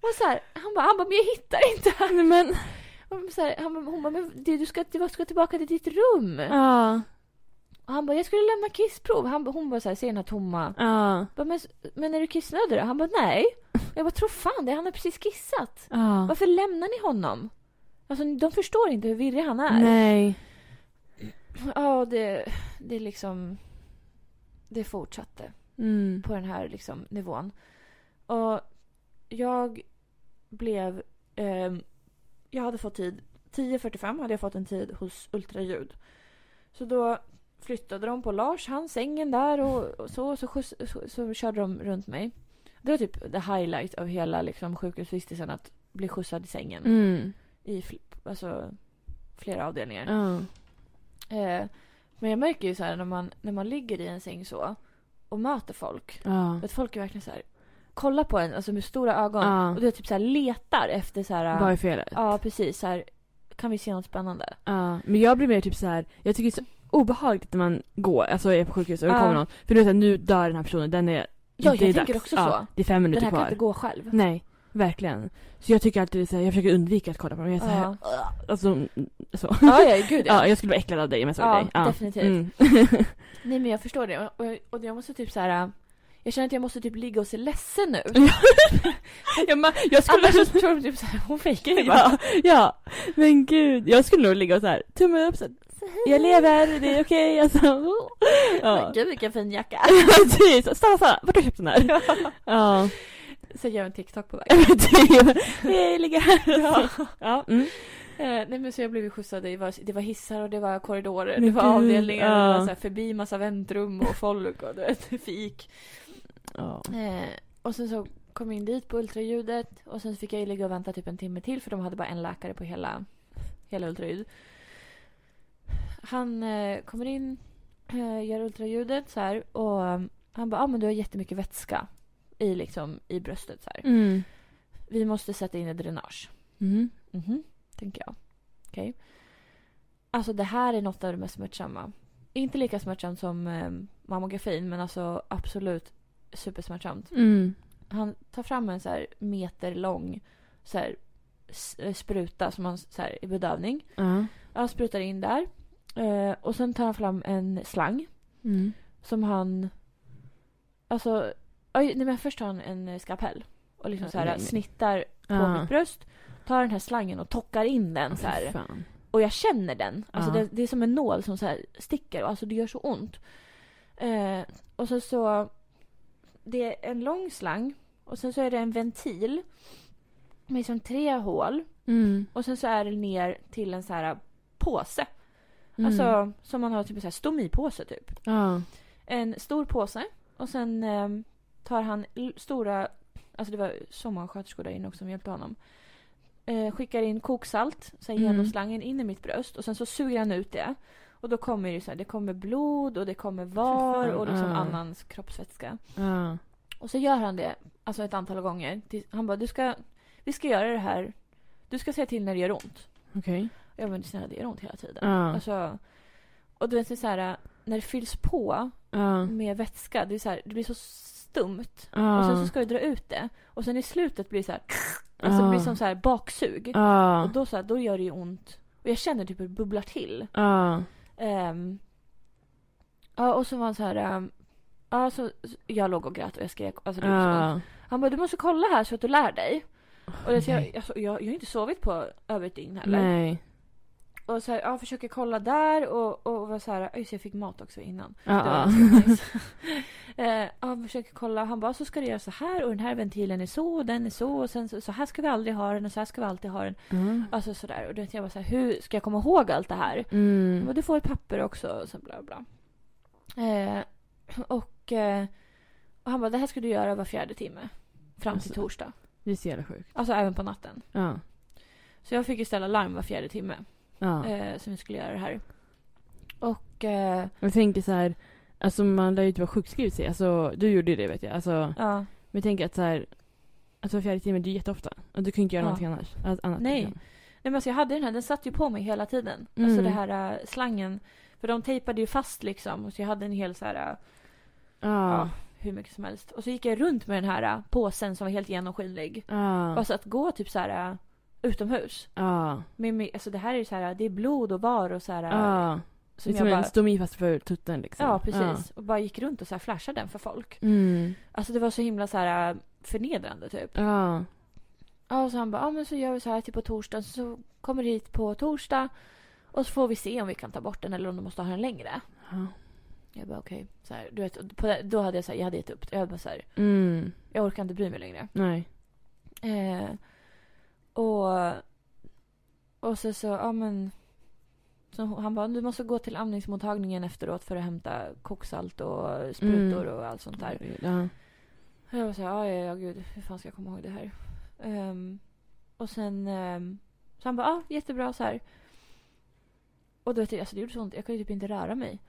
Speaker 1: Och så här, han bara, han bara, men jag hittar inte här.
Speaker 2: Nej, Men.
Speaker 1: Och så här, han bara, hon bara, men du, du ska, du ska tillbaka till ditt rum.
Speaker 2: Ja.
Speaker 1: Och han bara, jag skulle lämna kissprov. Han, bara- hon bara så här, ser den här tomma.
Speaker 2: Ja.
Speaker 1: Jag Bara, men, men är du kissnödig då? Han bara, nej. Jag bara, tror fan det, han har precis kissat.
Speaker 2: Ja.
Speaker 1: Varför lämnar ni honom? Alltså de förstår inte hur virrig han är.
Speaker 2: Nej.
Speaker 1: Ja, det, det är liksom... Det fortsatte
Speaker 2: Mm.
Speaker 1: på den här liksom, nivån. Och jag blev... ehm, jag hade fått tid... 10.45 hade jag fått en tid hos ultraljud. Så då flyttade de på Lars, han, sängen där och, och så, så, skjuts, så, så körde de runt mig. Det var typ the highlight av hela liksom, sjukhusvistelsen att bli skjutsad i sängen
Speaker 2: Mm.
Speaker 1: i fl- alltså, flera avdelningar.
Speaker 2: Ja.
Speaker 1: Eh, men jag märker ju så här när man, när man ligger i en säng så och möter folk.
Speaker 2: Ja.
Speaker 1: Att folk är verkligen så här kollar på en alltså med stora ögon
Speaker 2: Ja.
Speaker 1: och du vet, typ så här letar efter så här
Speaker 2: Vad är felet?
Speaker 1: Ja, precis så här kan vi se något spännande?
Speaker 2: Ja, men jag blir mer typ så här. jag tycker det är så obehagligt när man går, alltså är på sjukhus och det
Speaker 1: Ja.
Speaker 2: kommer någon. För du vet att nu dör den här personen, den är...
Speaker 1: Ja,
Speaker 2: det är
Speaker 1: jag tänker också
Speaker 2: Ja,
Speaker 1: så.
Speaker 2: det typ är
Speaker 1: Den
Speaker 2: fem minuter
Speaker 1: här kan
Speaker 2: kvar.
Speaker 1: inte gå själv.
Speaker 2: Nej, verkligen. Så jag tycker alltid så här, jag försöker undvika att kolla på dem. Jag är så här,
Speaker 1: Ja.
Speaker 2: alltså, så.
Speaker 1: Ja, ja, gud ja.
Speaker 2: <laughs> Ja, jag skulle bli äcklad av dig om jag såg
Speaker 1: Ja,
Speaker 2: dig. Ja,
Speaker 1: definitivt.
Speaker 2: Mm. <laughs>
Speaker 1: Nej, men jag förstår det och, och, och jag måste typ så här jag känner att jag måste typ ligga och se ledsen ut. <laughs>
Speaker 2: jag, ma- jag skulle...
Speaker 1: Annars så tror de typ så här, hon fejkar det bara.
Speaker 2: <laughs> ja, ja, men gud. Jag skulle nog ligga och så här, tummen upp så här, Jag lever, det är
Speaker 1: <laughs>
Speaker 2: okej. Alltså. Ja.
Speaker 1: Men Gud vilken fin jacka.
Speaker 2: <laughs> Precis, stanna, stanna. Vart har du köpt
Speaker 1: <laughs>
Speaker 2: den här? Ja.
Speaker 1: Sen gör jag en TikTok på vägen.
Speaker 2: Hej, <laughs> ligger här. Ja. ja. Mm.
Speaker 1: Eh, nej men så jag blev ju skjutsad, i- det var, det var hissar och det var korridorer,
Speaker 2: Men
Speaker 1: det var
Speaker 2: gud,
Speaker 1: avdelningar, och
Speaker 2: ja.
Speaker 1: det var så här förbi massa väntrum och folk och du vet, fik.
Speaker 2: Ja.
Speaker 1: Eh, och sen så kom jag in dit på ultraljudet och sen så fick jag ju ligga och vänta typ en timme till för de hade bara en läkare på hela, hela ultraljud. Han eh, kommer in, eh, gör ultraljudet så här och eh, han bara ah, men du har jättemycket vätska i, liksom, i bröstet så här.
Speaker 2: Mm.
Speaker 1: Vi måste sätta in ett dränage.
Speaker 2: Mm.
Speaker 1: Mhm, tänker jag. Okej. Alltså det här är något av det mest smärtsamma. Inte lika smärtsamt som eh, mammografin men alltså absolut supersmärtsamt.
Speaker 2: Mm.
Speaker 1: Han tar fram en så här meter lång så här, s- eh, spruta som man så här, i bedövning.
Speaker 2: Ja.
Speaker 1: Han sprutar in där. Eh, och sen tar han fram en slang
Speaker 2: Mm.
Speaker 1: som han... Alltså... Oj, nej men först tar han en eh, skalpell och liksom så här,
Speaker 2: Nej, nej.
Speaker 1: snittar på
Speaker 2: Ja.
Speaker 1: mitt bröst. Tar den här slangen och tockar in den så här.
Speaker 2: Fy fan.
Speaker 1: Och jag känner den. Alltså
Speaker 2: Ja.
Speaker 1: det, det är som en nål som så här sticker och alltså det gör så ont. Eh, och så så... Det är en lång slang och sen så är det en ventil med som tre hål
Speaker 2: Mm.
Speaker 1: och sen så är det ner till en så här påse.
Speaker 2: Mm.
Speaker 1: Alltså som man har typ en så här stomipåse typ.
Speaker 2: Ja.
Speaker 1: En stor påse och sen ehm, tar han l- stora... Alltså det var så många sköterskor där inne också som hjälpte honom. Eh, skickar in koksalt sen
Speaker 2: Mm.
Speaker 1: genom slangen in i mitt bröst och sen så suger han ut det. Och då kommer det, så här, det kommer blod och det kommer var
Speaker 2: fan.
Speaker 1: och liksom
Speaker 2: Ah.
Speaker 1: annans kroppsvätska.
Speaker 2: Ja.
Speaker 1: Och så gör han det alltså ett antal gånger. tills- Han bara, du ska... vi ska göra det här. Du ska säga till när det gör ont.
Speaker 2: Okej.
Speaker 1: Ja men snälla det gör ont hela tiden.
Speaker 2: Ja.
Speaker 1: Alltså, och du vet det är så här, när det fylls på
Speaker 2: Ja.
Speaker 1: med vätska, det, är så här, det blir så stumt. Och sen så
Speaker 2: Ja.
Speaker 1: ska du dra ut det. Och sen i slutet blir det så här, alltså det blir som så här baksug.
Speaker 2: Ja.
Speaker 1: Och då, så här, då gör det ju ont. Och jag känner typ hur det bubblar till.
Speaker 2: Ja.
Speaker 1: Ehm, ja, och så var han så här... ehm, ja, så, så- jag låg och grät och jag skrek. Alltså, det gjorde så ont.
Speaker 2: Ja.
Speaker 1: Han bara, du måste kolla här så att du lär dig. Och det, så
Speaker 2: Nej.
Speaker 1: jag, alltså, jag, jag har inte sovit på över ett dygn heller.
Speaker 2: Nej.
Speaker 1: Och så här, ja, försöker kolla där och, och var så här, just det, jag fick mat också innan. Det var
Speaker 2: Ja. <laughs>
Speaker 1: ganska nice. <laughs> Eh, ja, han försöker kolla. Han bara, så ska du göra så här och den här ventilen är så och den är så och sen så, så här ska vi aldrig ha den och så här ska vi alltid ha den.
Speaker 2: Mm.
Speaker 1: Alltså sådär. Och då tänkte jag bara så här, hur ska jag komma ihåg allt det här?
Speaker 2: Mm.
Speaker 1: Mm. Men du får ett papper också och sen bla bla. Eh, och, eh, och han bara, det här ska du göra var fjärde timme. Fram till
Speaker 2: Alltså.
Speaker 1: torsdag.
Speaker 2: Det är så jävla sjukt.
Speaker 1: Alltså även på natten.
Speaker 2: Ja.
Speaker 1: Så jag fick ju ställa larm var fjärde timme.
Speaker 2: Ja.
Speaker 1: Eh, som vi skulle göra det här. Och eh,
Speaker 2: Jag tänker så här, alltså man lär ju inte vara sjukskriven sig. Alltså, du gjorde ju det vet jag. Alltså,
Speaker 1: ja,
Speaker 2: men jag tänker att så här, att var fjärde timme, det är jätteofta. Och du kan ju inte göra
Speaker 1: Ja.
Speaker 2: någonting annars. Alltså, annat,
Speaker 1: Nej.
Speaker 2: liksom.
Speaker 1: Nej, men alltså jag hade den här, den satt ju på mig hela tiden.
Speaker 2: Mm.
Speaker 1: Alltså det här eh, slangen. För de tejpade ju fast liksom. Och så jag hade en hel så här, eh,
Speaker 2: Ja.
Speaker 1: hur mycket som helst. Och så gick jag runt med den här eh, påsen som var helt genomskinlig.
Speaker 2: Ja.
Speaker 1: Alltså att gå typ så här eh, utomhus.
Speaker 2: Ja.
Speaker 1: Med, med, alltså det här är ju så här, eh, det är blod och var och så här. eh,
Speaker 2: Ja. Det
Speaker 1: Som
Speaker 2: är som
Speaker 1: jag bara,
Speaker 2: en stomi fast för tutten liksom.
Speaker 1: ja precis. Och bara gick runt och så här flashade den för folk.
Speaker 2: Ja. Mm.
Speaker 1: Alltså det var så himla så här eh, förnedrande typ.
Speaker 2: Ja.
Speaker 1: Ja, och så han bara, ja men så gör vi så här till på torsdag. Så kommer du hit på torsdag. Och så får vi se om vi kan ta bort den eller om du måste ha den längre.
Speaker 2: Ja.
Speaker 1: Jag bara okej. Så här, Du vet, och på det- då hade jag så här, jag hade gett upp. Jag, bara, så här,
Speaker 2: Mm.
Speaker 1: jag orkar inte bry mig längre.
Speaker 2: Nej.
Speaker 1: Eh, och, och så så, ja men. Så hon- han bara, du måste gå till amningsmottagningen efteråt för att hämta koksalt och sprutor och allt sånt där.
Speaker 2: Ja.
Speaker 1: Och jag var så här, ja ja ja gud, hur fan ska jag komma ihåg det här? Ehm, och sen, ehm, så han bara, ja jättebra så här. Och då vet jag, alltså det gjorde så ont, jag kunde typ inte röra mig.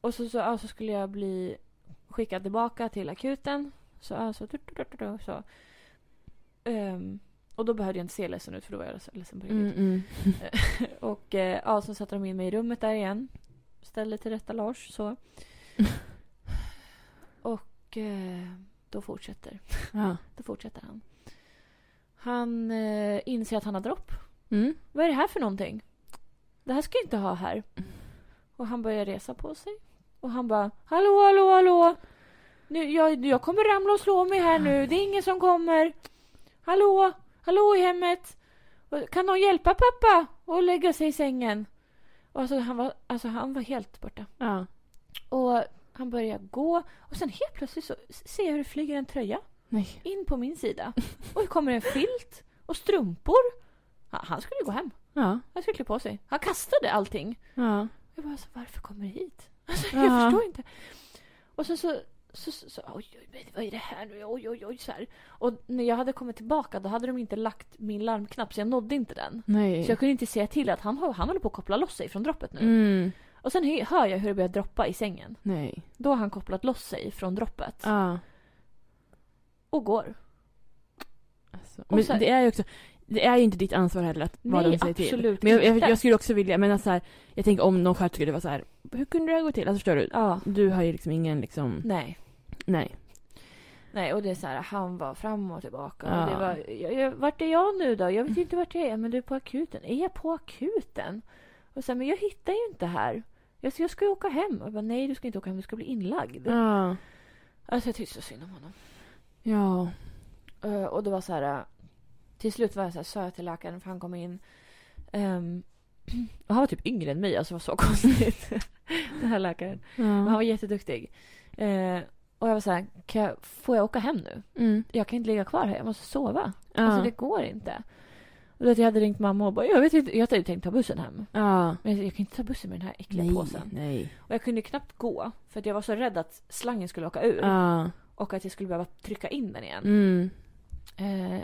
Speaker 1: Och så, så, ja, så skulle jag bli skickad tillbaka till akuten. Så, ja, så, du, du, du, du, du, så. Ehm, och då behövde jag inte se ledsen ut för då var jag ledsen- ledsen på riktigt.
Speaker 2: Mm, mm.
Speaker 1: Och eh, ja, så satte de in mig i rummet där igen. Ställde till rätta Lars så. och eh, då fortsätter
Speaker 2: Ja.
Speaker 1: då fortsätter han. Han eh, inser att han har dropp.
Speaker 2: Mm.
Speaker 1: Vad är det här för någonting? Det här ska jag inte ha här. Och han börjar resa på sig. Och han bara, hallå, hallå, hallå. Nu, jag, jag kommer ramla och slå mig här nu. Det är ingen som kommer. Hallå, hallå i hemmet. Och, Kan någon hjälpa pappa och lägga sig i sängen? Och alltså, han, var, alltså, han var helt borta.
Speaker 2: Ja.
Speaker 1: Och han börjar gå. Och sen helt plötsligt så ser jag hur det flyger en tröja
Speaker 2: Nej.
Speaker 1: in på min sida. Och det kommer en filt och strumpor. Ha- Han skulle gå hem.
Speaker 2: Ja.
Speaker 1: Han skulle klä på sig. Han kastade allting.
Speaker 2: Ja.
Speaker 1: Jag bara, så, varför kommer det hit? Alltså,
Speaker 2: Ja.
Speaker 1: jag förstår inte. Och sen så, så, så, så oj, oj, oj, vad är det här nu? Oj, oj, oj, så här. Och när jag hade kommit tillbaka då hade de inte lagt min larmknapp så jag nådde inte den.
Speaker 2: Nej.
Speaker 1: Så jag kunde inte säga till att han, har- han håller på att koppla loss sig från droppet nu.
Speaker 2: Mm.
Speaker 1: Och sen hö- hör jag hur det börjar droppa i sängen.
Speaker 2: Nej.
Speaker 1: Då har han kopplat loss sig från droppet.
Speaker 2: Ja.
Speaker 1: Och går.
Speaker 2: Alltså,
Speaker 1: Och
Speaker 2: men
Speaker 1: så här-
Speaker 2: det är ju också, det är ju inte ditt ansvar heller att vad
Speaker 1: Nej,
Speaker 2: de säger till.
Speaker 1: absolut
Speaker 2: Men jag, jag,
Speaker 1: inte.
Speaker 2: jag skulle också vilja, men alltså så här, jag tänker om någon själv skulle vara så här, hur kunde det här gå till? Alltså förstår du?
Speaker 1: Ja.
Speaker 2: Du har ju liksom ingen liksom,
Speaker 1: Nej.
Speaker 2: nej.
Speaker 1: Nej, och det är så här, han var fram och tillbaka.
Speaker 2: Ja.
Speaker 1: Och det var, jag, jag, vart är jag nu då? Jag vet inte vart jag är. Men du är på akuten. Är jag på akuten? Och sen, men jag hittar ju inte här. Jag, jag ska ju åka hem. Jag bara, nej du ska inte åka hem, du ska bli inlagd.
Speaker 2: Ja.
Speaker 1: Alltså jag tyckte så synd om honom.
Speaker 2: Ja.
Speaker 1: Eh, och det var så här, eh, till slut var jag så här, sa jag till läkaren för han kom in. Ehm, <clears throat> och han var typ yngre än mig, alltså det var så <laughs> konstigt. den här läkaren. Men han var
Speaker 2: Ja.
Speaker 1: jätteduktig. Eh, och jag var så här, kan jag, får jag åka hem nu?
Speaker 2: Mm.
Speaker 1: Jag kan inte ligga kvar här, jag måste sova.
Speaker 2: Ja.
Speaker 1: Alltså det går inte. Och då att jag hade ringt mamma och bara, jag, vet inte, jag hade ju tänkt ta bussen hem.
Speaker 2: ja.
Speaker 1: Men jag, jag kan inte ta bussen med den här äckliga
Speaker 2: Nej.
Speaker 1: påsen.
Speaker 2: Nej.
Speaker 1: Och jag kunde knappt gå för att jag var så rädd att slangen skulle åka ur.
Speaker 2: Ja.
Speaker 1: Och att jag skulle behöva trycka in den igen.
Speaker 2: Mm.
Speaker 1: Eh,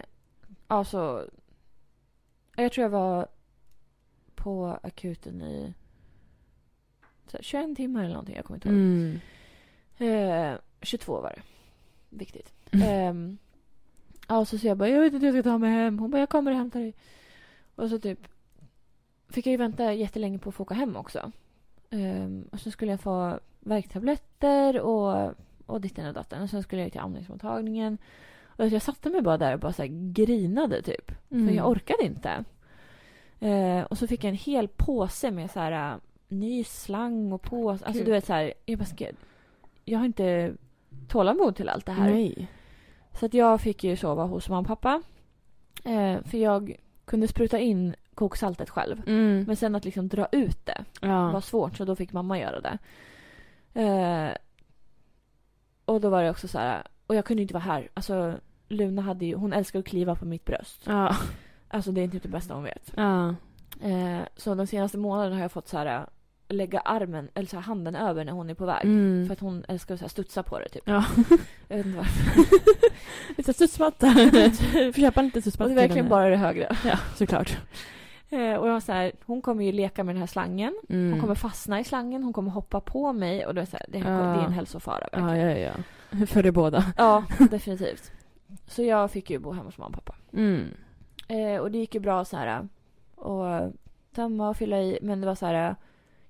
Speaker 1: alltså, jag tror jag var på akuten i så här, 21 timmar eller någonting. Jag kommer inte ihåg.
Speaker 2: Mm.
Speaker 1: Typ. Eh, 22 var det. Viktigt. Ehm, Ja, Ja, och så säger jag bara jag vet inte hur jag ska ta mig hem. Hon bara jag kommer och hämtar dig. Och så typ fick jag ju vänta jättelänge på att få åka hem också. Ehm, och så skulle jag få värktabletter och, och ditten och datten. Och sen skulle jag till amningsmottagningen. Och jag satte mig bara där och bara så här grinade typ. För
Speaker 2: Mm.
Speaker 1: jag orkade inte. Eh, och så fick jag en hel påse med så här äh, ny slang och påse. Alltså
Speaker 2: Gud.
Speaker 1: du vet så här, jag bara ska, jag har inte tålamod till allt det här.
Speaker 2: Nej.
Speaker 1: Så att jag fick ju sova hos mamma och pappa. Eh, för jag kunde spruta in koksaltet själv.
Speaker 2: Mm.
Speaker 1: Men sen att liksom dra ut det var
Speaker 2: ja.
Speaker 1: svårt så då fick mamma göra det. Eh, och då var det också så här, och jag kunde inte vara här. Alltså Luna hade ju, hon älskar att kliva på mitt bröst.
Speaker 2: Ja.
Speaker 1: Alltså det är typ det bästa hon vet.
Speaker 2: Ja.
Speaker 1: Eh, så de senaste månaderna har jag fått så här, eh, lägga armen, eller så här, handen över när hon är på väg.
Speaker 2: Mm.
Speaker 1: För att hon älskar att så här, studsa på det typ.
Speaker 2: Ja.
Speaker 1: <laughs> Jag vet inte
Speaker 2: <laughs>
Speaker 1: varför. <laughs>
Speaker 2: Lite studsmatta. Får köpa en liten
Speaker 1: Och
Speaker 2: studsmatta
Speaker 1: det är
Speaker 2: till
Speaker 1: verkligen
Speaker 2: henne.
Speaker 1: bara det högra.
Speaker 2: Ja, såklart.
Speaker 1: <laughs> Eh, och jag var så här, hon kommer ju leka med den här slangen.
Speaker 2: Mm.
Speaker 1: Hon kommer fastna i slangen, hon kommer hoppa på mig. Och det är, så här, det, här,
Speaker 2: Ja.
Speaker 1: det är en hälsofara verkligen.
Speaker 2: Ja, ja, Ah. ja. För det båda.
Speaker 1: Ja,
Speaker 2: <laughs>
Speaker 1: definitivt. Så jag fick ju bo hemma hos mamma och pappa.
Speaker 2: Mm.
Speaker 1: Eh, och det gick ju bra så här eh, och tömma och fylla i. Men det var så här, eh,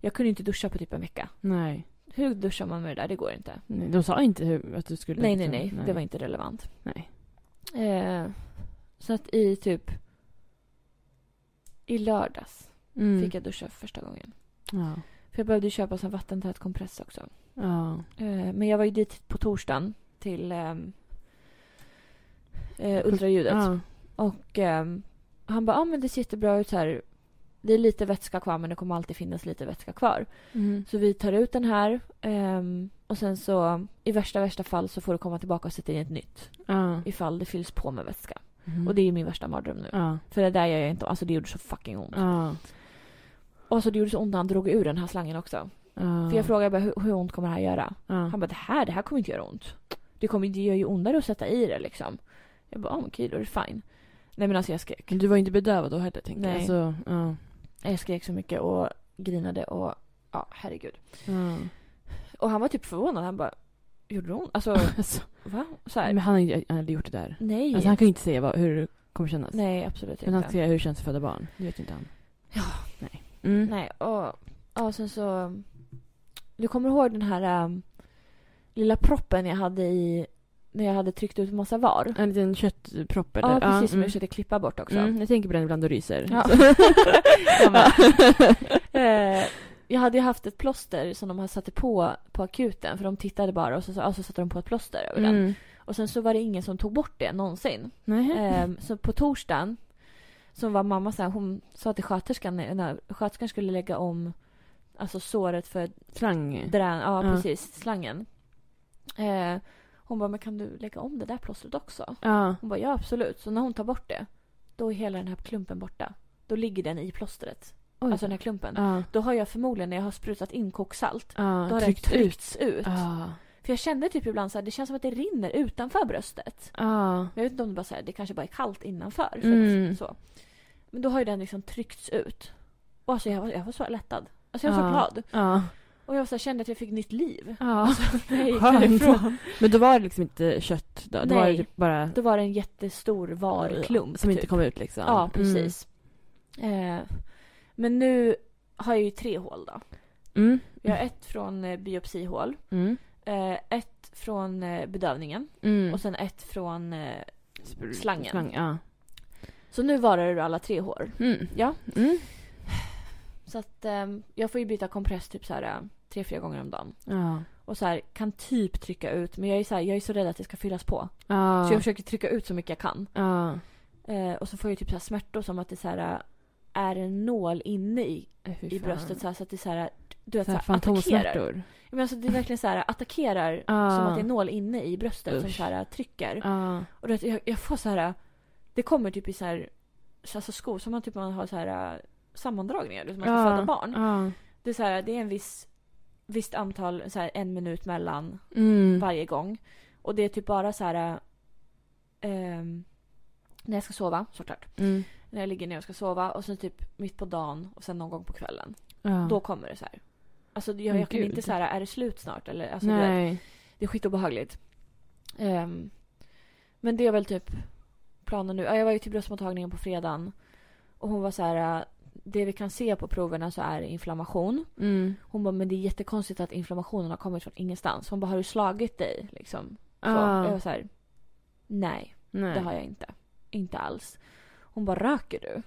Speaker 1: jag kunde inte duscha på typ en vecka.
Speaker 2: Nej.
Speaker 1: Hur duschar man med det där? Det går inte.
Speaker 2: Nej, De sa inte hur, att du skulle... liksom-
Speaker 1: Nej, nej, nej. Det var inte relevant.
Speaker 2: Nej.
Speaker 1: Eh, så att i typ i lördags
Speaker 2: Mm.
Speaker 1: fick jag duscha för första gången.
Speaker 2: Ja.
Speaker 1: För jag behövde ju köpa en vattentät kompress också.
Speaker 2: Ja.
Speaker 1: Eh, men jag var ju dit på torsdagen till ehm, eh, ultraljudet.
Speaker 2: Ja.
Speaker 1: Och ehm, han bara, ja ah, men det ser jättebra ut så här. Det är lite vätska kvar men det kommer alltid finnas lite vätska kvar.
Speaker 2: Mm.
Speaker 1: Så vi tar ut den här ehm, och sen så i värsta värsta fall så får du komma tillbaka och sätta in ett nytt.
Speaker 2: Ja.
Speaker 1: Ifall det fylls på med vätska.
Speaker 2: Mm.
Speaker 1: Och det är ju min värsta mardröm nu.
Speaker 2: Ja.
Speaker 1: För det där gör jag inte, alltså det gjorde så fucking ont.
Speaker 2: Ja.
Speaker 1: Och alltså det gjorde så ont när han drog ur den här slangen också.
Speaker 2: ja.
Speaker 1: För jag frågade bara, hur, hur ont kommer det här göra?
Speaker 2: Ja.
Speaker 1: Han bara, det här, det här kommer inte göra ont. Det, kommer, det gör ju ondare att sätta i det liksom. Jag bara, ah, men okej då är det fine. Nej men alltså jag skrek.
Speaker 2: Men du var inte bedövad då heller, tänker jag.
Speaker 1: Nej.
Speaker 2: Alltså, ja.
Speaker 1: Jag skrek så mycket och grinade och ja, herregud.
Speaker 2: Ja.
Speaker 1: Och han var typ förvånad. Han bara, gjorde det ont?
Speaker 2: <laughs>
Speaker 1: Alltså,
Speaker 2: Alltså,
Speaker 1: va? Så här,
Speaker 2: men han har ju han hade gjort det där.
Speaker 1: nej.
Speaker 2: Alltså, han kan ju inte säga vad, hur det kommer kännas.
Speaker 1: Nej, absolut
Speaker 2: Men han
Speaker 1: inte.
Speaker 2: kan säga hur det känns att föda barn. Det vet ju inte han.
Speaker 1: Ja.
Speaker 2: Nej. Mm.
Speaker 1: Nej, och ja, sen så... Du kommer ihåg den här äm, lilla proppen jag hade i... När jag hade tryckt ut massa var?
Speaker 2: En liten köttpropp eller?
Speaker 1: ja, precis. Som
Speaker 2: mm.
Speaker 1: jag försökte klippa bort också.
Speaker 2: Mm, jag tänker på den ibland och ryser. <laughs>
Speaker 1: Ja. <laughs>
Speaker 2: Så-
Speaker 1: Jag, bara, <laughs> eh, jag hade ju haft ett plåster som de satte på på akuten. För de tittade bara och så, ja, så satte de på ett plåster över den.
Speaker 2: Mm.
Speaker 1: Och sen så var det ingen som tog bort det någonsin.
Speaker 2: Nej.
Speaker 1: Ehm, så på torsdagen så var mamma så här, hon sa till sköterskan när- när sköterskan skulle lägga om alltså såret för
Speaker 2: Slang.
Speaker 1: drän, ja
Speaker 2: Ja.
Speaker 1: precis, slangen. Eh, hon bara, men kan du lägga om det där plåstret också?
Speaker 2: Ja.
Speaker 1: Hon bara, ja absolut. Så när hon tar bort det, då är hela den här klumpen borta. Då ligger den i plåstret.
Speaker 2: Oj.
Speaker 1: Alltså den här klumpen.
Speaker 2: ja.
Speaker 1: Då har jag förmodligen, när jag har sprutat in koksalt,
Speaker 2: ja.
Speaker 1: då har
Speaker 2: tryckt
Speaker 1: den
Speaker 2: ut.
Speaker 1: tryckts ut.
Speaker 2: Ja.
Speaker 1: För jag kände typ ibland så här, det känns som att det rinner utanför bröstet.
Speaker 2: Ja.
Speaker 1: Men Jag vet inte om det bara så här, det kanske bara är kallt innanför. För
Speaker 2: Mm.
Speaker 1: att, så. Men då har ju den liksom tryckts ut. Och alltså jag var, jag var så lättad. Alltså jag var
Speaker 2: Ja.
Speaker 1: så glad.
Speaker 2: Ja.
Speaker 1: Och jag var så här, kände att jag fick nytt liv.
Speaker 2: ja.
Speaker 1: När
Speaker 2: <laughs>
Speaker 1: jag gick
Speaker 2: Skönt.
Speaker 1: därifrån.
Speaker 2: Men då var det liksom inte kött då? Då var det
Speaker 1: Nej.
Speaker 2: typ bara...
Speaker 1: Då var det en jättestor varklump.
Speaker 2: Som inte
Speaker 1: typ.
Speaker 2: kom ut liksom?
Speaker 1: Ja, precis. Eh, men nu har jag ju tre hål då.
Speaker 2: Mm. Mm.
Speaker 1: Jag har ett från eh, biopsihål.
Speaker 2: Mm.
Speaker 1: Eh, ett från eh, bedövningen.
Speaker 2: Mm.
Speaker 1: Och sen ett från... Eh,
Speaker 2: Spr-
Speaker 1: slangen.
Speaker 2: Slang, ja.
Speaker 1: så nu varar det alla tre hål.
Speaker 2: Mm.
Speaker 1: Ja.
Speaker 2: Mm.
Speaker 1: Så att ehm, jag får ju byta kompress typ så här eh, tre, fyra gånger om dagen.
Speaker 2: Ja.
Speaker 1: Och så här, kan typ trycka ut. Men jag är, så här, jag är så rädd att det ska fyllas på.
Speaker 2: Ja.
Speaker 1: Så jag försöker trycka ut så mycket jag kan.
Speaker 2: Ja.
Speaker 1: Eh, och så får jag typ så här smärtor som att det så här, eh, är en nål inne i,
Speaker 2: Äh, fy
Speaker 1: i
Speaker 2: fan.
Speaker 1: bröstet. Så, här, så att det så här, du vet,
Speaker 2: Så
Speaker 1: så
Speaker 2: här
Speaker 1: här, attackerar. Ja,
Speaker 2: fantomsmärtor.
Speaker 1: Men alltså, det är verkligen så här, attackerar
Speaker 2: Ja.
Speaker 1: som att det är en nål inne i bröstet som
Speaker 2: Usch. Ah.
Speaker 1: så här, trycker.
Speaker 2: Ja.
Speaker 1: Och du vet, jag, jag får så här, det kommer typ i så här, så alltså skor som man, typ, man har så här, sammandragningar. Som man ska
Speaker 2: Ja.
Speaker 1: föda barn.
Speaker 2: Ja.
Speaker 1: Det är, så här, det är en viss, visst antal, så här, en minut mellan
Speaker 2: Mm.
Speaker 1: varje gång. Och det är typ bara så här... ehm, när jag ska sova, såklart.
Speaker 2: Mm.
Speaker 1: När jag ligger ner och ska sova och sen typ mitt på dagen och sen någon gång på kvällen.
Speaker 2: Ja.
Speaker 1: Då kommer det så här. Alltså jag,
Speaker 2: Men
Speaker 1: jag kan
Speaker 2: gud.
Speaker 1: inte så här, är det slut snart? Eller, alltså, du vet,
Speaker 2: Nej.
Speaker 1: Ehm, det är skitobehagligt. Um, men det är väl typ planen nu. Ja, Jag var ju till bröstmottagningen på fredagen. Och hon var så här, eh, det vi kan se på proverna så är det inflammation.
Speaker 2: Mm.
Speaker 1: Hon bara, men det är jättekonstigt att inflammationen har kommit från ingenstans. Hon bara, har du slagit dig? Liksom. Så.
Speaker 2: Ah,
Speaker 1: Jag var så här, nej,
Speaker 2: nej.
Speaker 1: det har jag inte. Inte alls. Hon bara, röker du?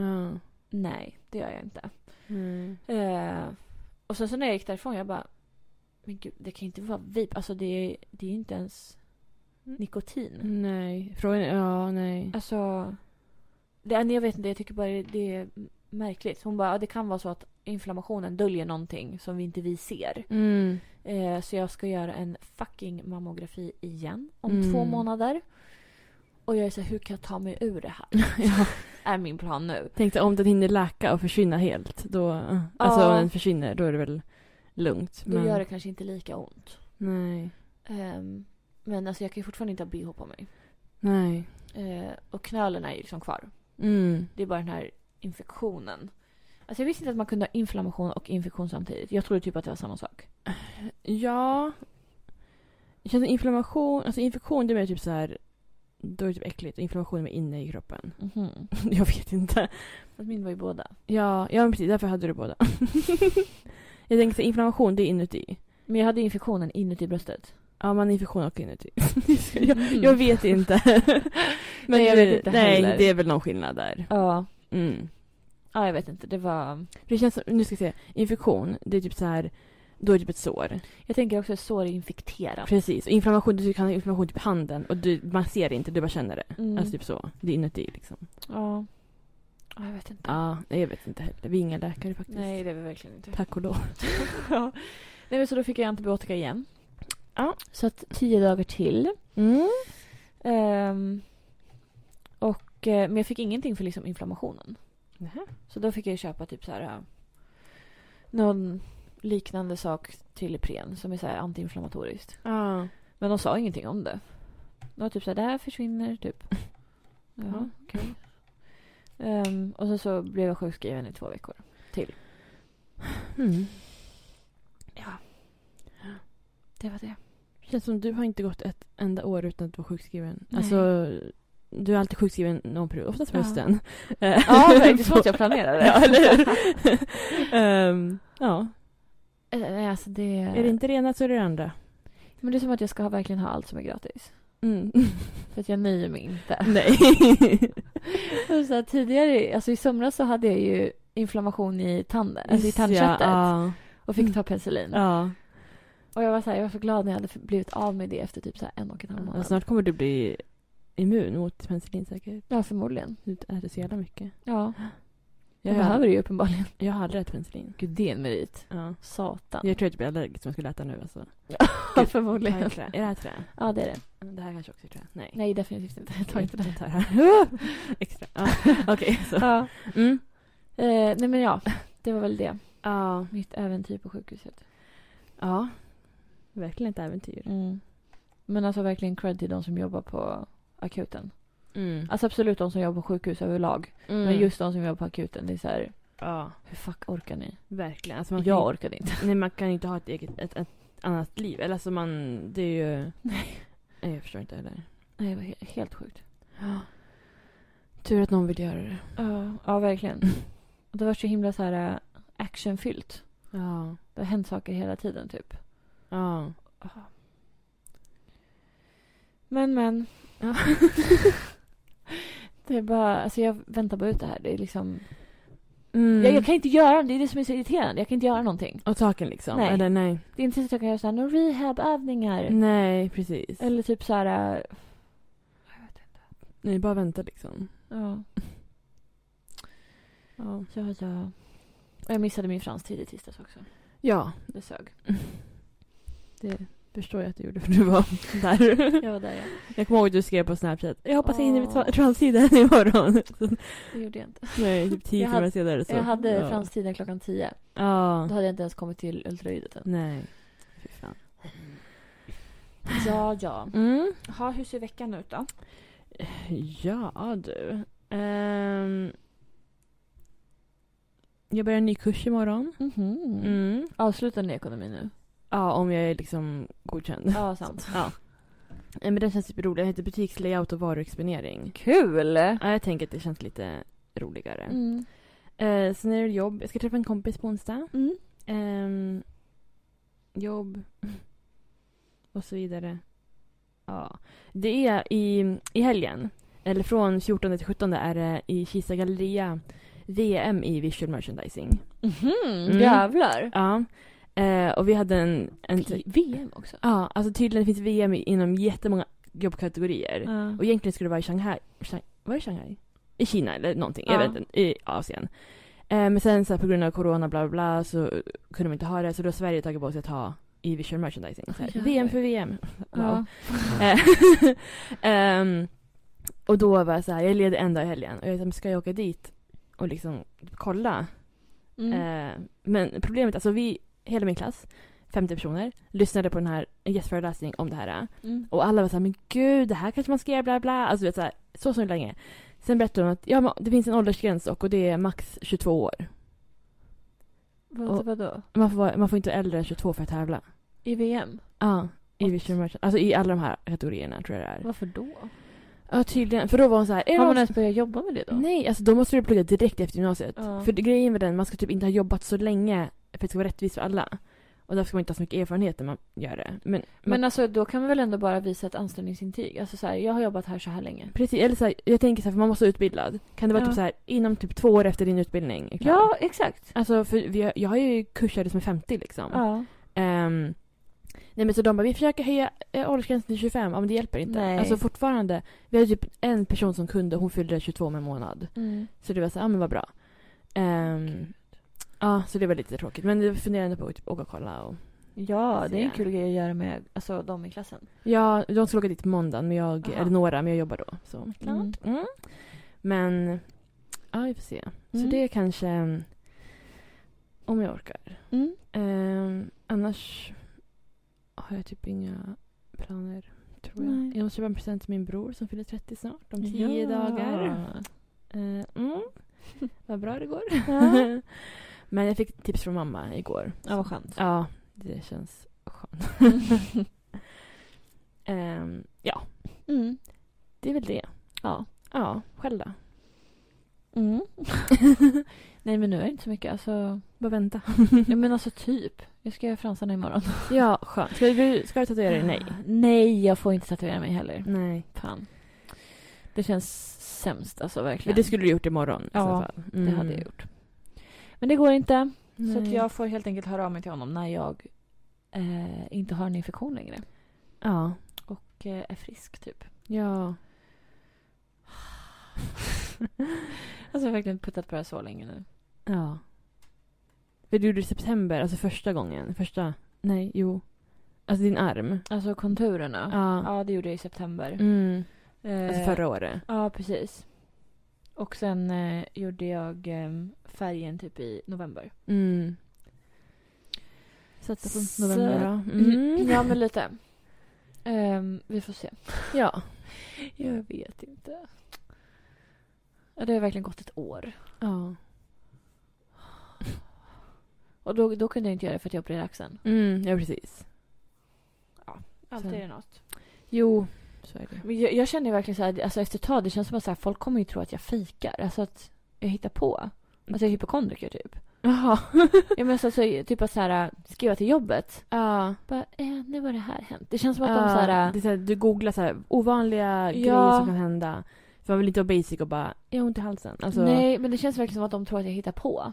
Speaker 2: Ja.
Speaker 1: Nej, det gör jag inte.
Speaker 2: Mm.
Speaker 1: Eh, och sen så när jag gick därifrån, jag bara, men gud, det kan ju inte vara vape. Alltså det är, det är ju inte ens
Speaker 2: Mm.
Speaker 1: nikotin.
Speaker 2: Nej. Frågan är... Ja, nej.
Speaker 1: Alltså, det, nej, jag vet inte, jag tycker bara det, det är märkligt. Hon bara, ja, det kan vara så att inflammationen döljer någonting som vi inte vi ser.
Speaker 2: Mm.
Speaker 1: Eh, så jag ska göra en fucking mammografi igen om
Speaker 2: Mm.
Speaker 1: två månader. Och jag är så här, hur kan jag ta mig ur det
Speaker 2: <laughs>
Speaker 1: här? Alltså,
Speaker 2: ja.
Speaker 1: Är min plan nu.
Speaker 2: Tänkte om den hinner läka och försvinna helt, då... Alltså
Speaker 1: Ja.
Speaker 2: om den försvinner, då är det väl lugnt.
Speaker 1: Då gör det kanske inte lika ont.
Speaker 2: Nej.
Speaker 1: Ehm, men alltså jag kan ju fortfarande inte ha bh på mig.
Speaker 2: Nej.
Speaker 1: Eh, och knölen är ju liksom kvar.
Speaker 2: Mm.
Speaker 1: Det är bara den här infektionen. Alltså jag visste inte att man kunde ha inflammation och infektion samtidigt. Jag trodde typ att det var samma sak.
Speaker 2: Ja. Det känns som inflammation, alltså infektion det är mer typ så här då är det typ äckligt och inflammation är inne i kroppen. <laughs>
Speaker 1: Mhm.
Speaker 2: Jag vet inte.
Speaker 1: Fast min var ju båda.
Speaker 2: Ja, ja men precis därför hade du båda. <laughs> jag tänker så här, inflammation det är inuti.
Speaker 1: Men jag hade ju infektionen inuti
Speaker 2: <laughs>
Speaker 1: bröstet.
Speaker 2: Ja, man har infektion och inuti. jag, jag vet inte. men
Speaker 1: Mm. <laughs> Nej, jag
Speaker 2: det-
Speaker 1: vet inte
Speaker 2: Nej,
Speaker 1: heller.
Speaker 2: det är väl någon skillnad där.
Speaker 1: Ja.
Speaker 2: Mm.
Speaker 1: ja, jag vet inte. Det var...
Speaker 2: Det känns som, nu ska jag se, infektion det är typ så här då är det typ ett sår.
Speaker 1: Jag tänker också att sår är infekterat.
Speaker 2: Precis. Och inflammation, du kan ha inflammation typ i handen och du, man ser det inte, du bara känner det.
Speaker 1: Mm.
Speaker 2: Alltså typ så. Det är inuti liksom.
Speaker 1: ja. ja, jag vet inte.
Speaker 2: Ja, nej, jag vet inte heller. Vi är inga läkare faktiskt.
Speaker 1: Nej, det är vi verkligen inte. <laughs>
Speaker 2: Tack och lov.
Speaker 1: Ja. Nej, men så då fick jag antibiotika igen.
Speaker 2: Ja.
Speaker 1: Så att tio dagar till. Mm. Ehm, och, eh, men jag fick ingenting för liksom inflammationen.
Speaker 2: Nähä.
Speaker 1: Så då fick jag ju köpa typ så här eh, någon liknande sak till Ipren som är så här antiinflammatoriskt.
Speaker 2: Ja.
Speaker 1: Men de sa ingenting om det. De var typ så här, det här försvinner
Speaker 2: <laughs>
Speaker 1: typ. Jaha, okej. Ehm, och sen så blev jag sjukskriven i två veckor.
Speaker 2: Mm.
Speaker 1: Det var det.
Speaker 2: Känns som du har inte gått ett enda år utan att vara sjukskriven.
Speaker 1: Nej.
Speaker 2: Alltså, du är alltid sjukskriven någon period, oftast på
Speaker 1: Ja.
Speaker 2: hösten.
Speaker 1: <laughs>
Speaker 2: Eh,
Speaker 1: Ja, det
Speaker 2: <laughs>
Speaker 1: är så att jag planerade.
Speaker 2: ja, eller hur? Ehm, ja.
Speaker 1: <laughs> Eh, Nej, alltså det...
Speaker 2: Är det inte det ena så är det det andra.
Speaker 1: Men det är som att jag ska ha, verkligen ha allt som är gratis.
Speaker 2: Mm.
Speaker 1: För att jag nöjer mig inte.
Speaker 2: <laughs> Nej.
Speaker 1: <laughs> Och så här, tidigare, alltså i somras så hade jag ju inflammation i tanden, alltså i tandköttet.
Speaker 2: Ja. Mm.
Speaker 1: Och fick ta penicillin.
Speaker 2: ja.
Speaker 1: Och jag var så här, jag var så glad när jag hade blivit av med det efter typ så här en och en halv
Speaker 2: ja.
Speaker 1: månad.
Speaker 2: Snart kommer du bli immun mot penicillin säkert.
Speaker 1: Ja, förmodligen.
Speaker 2: Du äter så jävla mycket.
Speaker 1: Ja, jag
Speaker 2: Jag,
Speaker 1: behöver
Speaker 2: har,
Speaker 1: det ju uppenbarligen.
Speaker 2: jag har aldrig ätit penicillin.
Speaker 1: Gud, det är en merit.
Speaker 2: Ja.
Speaker 1: Satan.
Speaker 2: Jag tror att jag blir allergisk om jag skulle äta nu <laughs> alltså.
Speaker 1: <laughs> Ja,
Speaker 2: Tar jag
Speaker 1: förmodligen.
Speaker 2: trä? Är det här trä?
Speaker 1: Ja, det är det.
Speaker 2: Det här kanske också är trä? Nej.
Speaker 1: Nej, definitivt inte. Jag tar inte
Speaker 2: <laughs>
Speaker 1: det.
Speaker 2: Jag tar här. Extra. Ja. <laughs> Okej, så.
Speaker 1: Ja.
Speaker 2: Mm.
Speaker 1: Eh, nej, men ja. Det var väl det.
Speaker 2: Ja.
Speaker 1: Mitt äventyr på sjukhuset.
Speaker 2: ja. Verkligen ett äventyr.
Speaker 1: Mm. Men alltså verkligen cred till de som jobbar på akuten.
Speaker 2: Mm.
Speaker 1: Alltså absolut de som jobbar på sjukhus överlag. Men just de som jobbar på akuten, det är så här,
Speaker 2: Ja,
Speaker 1: hur fuck orkar ni?
Speaker 2: verkligen. Alltså man kan,
Speaker 1: Jag orkade inte.
Speaker 2: Nej, man kan ju inte ha ett eget, ett, ett annat liv. Eller alltså man, det är ju...
Speaker 1: Nej.
Speaker 2: <laughs> Nej, jag förstår inte heller.
Speaker 1: Nej, det var he- helt sjukt.
Speaker 2: Tur att någon vill göra det.
Speaker 1: Ja, ja verkligen.
Speaker 2: Mm.
Speaker 1: Och det var så himla så här äh, actionfyllt.
Speaker 2: Ja.
Speaker 1: Det har hänt saker hela tiden typ.
Speaker 2: Ja.
Speaker 1: Men men.
Speaker 2: Ja.
Speaker 1: <laughs> det är bara, alltså jag väntar bara ut det här. Det är liksom,
Speaker 2: Mm.
Speaker 1: jag, jag kan inte göra, det är det som är så irriterande. Jag kan inte göra någonting.
Speaker 2: Och taken liksom?
Speaker 1: Nej.
Speaker 2: Eller nej.
Speaker 1: Det är inte så att jag kan göra så här, några rehabövningar.
Speaker 2: Mm. Nej, precis.
Speaker 1: Eller typ så här, äh, jag vet inte.
Speaker 2: Nej, bara vänta liksom.
Speaker 1: Ja,
Speaker 2: Ja.
Speaker 1: <laughs> ja, ja. Och jag missade min franstid i tisdags också.
Speaker 2: ja.
Speaker 1: Det sög.
Speaker 2: Det förstår jag att du gjorde för du var <laughs> där.
Speaker 1: Jag var där, <laughs> ja.
Speaker 2: Jag kommer ihåg att du skrev på Snapchat. Jag hoppas jag hinner vid
Speaker 1: Åh.
Speaker 2: tra- transtiden imorgon. <laughs> Så,
Speaker 1: Det gjorde jag inte.
Speaker 2: nej, typ tio
Speaker 1: Jag hade-
Speaker 2: timmar senare. Så.
Speaker 1: Jag hade
Speaker 2: ja.
Speaker 1: franstiden klockan tio.
Speaker 2: Ja.
Speaker 1: Då hade jag inte ens kommit till ultraljudet än.
Speaker 2: Nej. Fy fan.
Speaker 1: Ja, ja.
Speaker 2: Mm.
Speaker 1: Ha, hur ser veckan ut då?
Speaker 2: Ja, du. Ehm. Jag börjar en ny kurs imorgon. Mm.
Speaker 1: Mhm. Avslutar ni ekonomi nu?
Speaker 2: <laughs>
Speaker 1: <laughs>
Speaker 2: Ja, om jag är liksom godkänd.
Speaker 1: Ja, sant.
Speaker 2: Ja. Eh, Men den känns typ rolig. Den heter Butikslayout och varuexponering.
Speaker 1: Kul!
Speaker 2: Ja, jag tänker att det känns lite roligare.
Speaker 1: Mm.
Speaker 2: Eh, sen är det jobb. Jag ska träffa en kompis på onsdag.
Speaker 1: Mm.
Speaker 2: Ehm, jobb. <laughs> Och så vidare. Ja. Det är i, i helgen, eller från 14 till 17 är det i Kisa Galleria VM i visual merchandising. Mm.
Speaker 1: Mhm. Jävlar!
Speaker 2: Ja. Eh, och vi hade en... en
Speaker 1: I VM också?
Speaker 2: ja, alltså tydligen finns VM i- inom jättemånga jobbkategorier.
Speaker 1: Ja.
Speaker 2: Och egentligen skulle det vara i Shanghai. Shang, var det Shanghai? I Kina eller någonting. Jag
Speaker 1: Ja.
Speaker 2: vet inte. I Asien. Eh, men sen så här, på grund av corona bla bla bla så kunde de inte ha det. Så då har Sverige tagit på sig att ha i visual merchandising. Så här,
Speaker 1: Jävlar.
Speaker 2: VM för VM. Wow.
Speaker 1: Ja.
Speaker 2: Eh, <laughs> ehm, och då var jag så här, jag led en dag i helgen. Och jag sa, men ska jag åka dit och liksom kolla?
Speaker 1: Mm.
Speaker 2: Eh, men problemet, alltså vi, hela min klass, 50 personer, lyssnade på den här en gästföreläsning om det här.
Speaker 1: Mm.
Speaker 2: Och alla var så här, men gud, det här kanske man ska göra, bla bla. Alltså, du vet, så, här, så så länge. Sen berättade hon att ja, men det finns en åldersgräns och, och det är max 22 år.
Speaker 1: Vad,
Speaker 2: och-
Speaker 1: vadå?
Speaker 2: Man får, vara, man får inte vara äldre än 22 för att tävla.
Speaker 1: I VM?
Speaker 2: Ja, i
Speaker 1: What?
Speaker 2: visual merchant. Alltså i alla de här kategorierna tror jag det är.
Speaker 1: Varför då?
Speaker 2: Ja, tydligen. För då var hon så här, är det
Speaker 1: Har
Speaker 2: någon
Speaker 1: man ens börjat jobba med det då?
Speaker 2: Nej, alltså då måste du plugga direkt efter gymnasiet.
Speaker 1: Ja.
Speaker 2: För det- grejen med den, man ska typ inte ha jobbat så länge för att det ska vara rättvist för alla. Och därför ska man inte ha så mycket erfarenhet när man gör det. Men,
Speaker 1: Men alltså då kan man väl ändå bara visa ett anställningsintyg? Alltså så här, jag har jobbat här så här länge.
Speaker 2: precis, eller så här, jag tänker så här, för man måste vara utbildad. Kan det vara
Speaker 1: Ja.
Speaker 2: typ så här, inom typ två år efter din utbildning? är klar?
Speaker 1: Ja, exakt.
Speaker 2: Alltså, för vi har, jag har ju kursare som är 50 liksom.
Speaker 1: Ja.
Speaker 2: Ehm, nej men så de bara, vi försöker höja eh, åldersgränsen till 25, ja, men det hjälper inte.
Speaker 1: Nej.
Speaker 2: Alltså fortfarande, vi hade typ en person som kunde, hon fyllde 22 om en månad.
Speaker 1: Mm.
Speaker 2: Så det var så här, ja men vad bra. Ehm, ja, så det var lite tråkigt. Men jag funderar ändå på att typ, åka och kolla och...
Speaker 1: Ja, det är en
Speaker 2: Se.
Speaker 1: kul grej att göra med alltså, de i klassen.
Speaker 2: Ja, de skulle åka dit på måndagen, men jag,
Speaker 1: Aha.
Speaker 2: eller några, men jag jobbar då. Så klart.
Speaker 1: Mm.
Speaker 2: Mm. Men, ja vi får se.
Speaker 1: Mm.
Speaker 2: Så det är kanske, mm, om jag orkar.
Speaker 1: Mm.
Speaker 2: Ehm, annars har jag typ inga planer, tror jag.
Speaker 1: Nej.
Speaker 2: Jag måste köpa en present till min bror som fyller 30 snart, om 10 dagar. Ehm, mm. Vad bra det går.
Speaker 1: Ja.
Speaker 2: <laughs> Men jag fick tips från mamma igår.
Speaker 1: Ja, vad skönt.
Speaker 2: Ja, det känns <laughs> skönt. Ehm, ja,
Speaker 1: Mm.
Speaker 2: det är väl det.
Speaker 1: Ja.
Speaker 2: Ja, själv då?
Speaker 1: Mm. <laughs> Nej, men nu är det inte så mycket. <laughs> Alltså,
Speaker 2: Bara vänta.
Speaker 1: ja, men alltså typ. Jag ska göra fransarna imorgon.
Speaker 2: <laughs> ja, skönt. Ska du, ska du tatuera dig? Nej.
Speaker 1: <laughs> Nej, jag får inte tatuera mig heller.
Speaker 2: Nej.
Speaker 1: Fan. Det känns sämst alltså verkligen.
Speaker 2: Men det skulle du gjort imorgon
Speaker 1: Ja,
Speaker 2: i så fall.
Speaker 1: Det
Speaker 2: Mm.
Speaker 1: hade jag gjort. Men det går inte. Så att
Speaker 2: Nej.
Speaker 1: jag får helt enkelt höra av mig till honom när jag eh, inte har en infektion längre.
Speaker 2: Ja.
Speaker 1: Och eh, är frisk
Speaker 2: <laughs>
Speaker 1: typ.
Speaker 2: Ja.
Speaker 1: Alltså jag har verkligen puttat på det här så länge nu.
Speaker 2: Ja. För du gjorde det i september, alltså första gången. Första... Nej, jo. Alltså din arm.
Speaker 1: Alltså konturerna.
Speaker 2: Ja.
Speaker 1: Ja, det gjorde jag i september.
Speaker 2: Mm.
Speaker 1: Eh,
Speaker 2: Alltså förra året.
Speaker 1: Ja, precis. Och sen eh, gjorde jag eh, färgen typ i november.
Speaker 2: Mm. Sätta
Speaker 1: Så-
Speaker 2: på november
Speaker 1: <laughs>
Speaker 2: då. Mm.
Speaker 1: Ja, men lite. Ehm, vi får se.
Speaker 2: Ja.
Speaker 1: Jag vet inte. Ja, det har verkligen gått ett år.
Speaker 2: Ja.
Speaker 1: Och då, då kunde jag inte göra det för att jag opererade axeln.
Speaker 2: Mm, ja precis.
Speaker 1: Alltid
Speaker 2: Sen-
Speaker 1: är det något.
Speaker 2: Jo. Så är det.
Speaker 1: Men jag, jag känner ju verkligen så här, alltså efter ett tag, det känns som att så här, folk kommer ju tro att jag fikar. Alltså att jag hittar på. Alltså jag är hypokondriker
Speaker 2: <laughs>
Speaker 1: typ.
Speaker 2: Jaha.
Speaker 1: Jag menar så, så, typ att så här, skriva till jobbet.
Speaker 2: Ja.
Speaker 1: Bara, eh, nu har det här hänt. Det känns som att
Speaker 2: Ja,
Speaker 1: de så här,
Speaker 2: det är så här, du googlar så här, ovanliga grejer som kan hända. För man vill inte vara basic och bara, jag har ont i halsen. Alltså,
Speaker 1: nej men det känns verkligen som att de tror att jag hittar
Speaker 2: <laughs>
Speaker 1: på.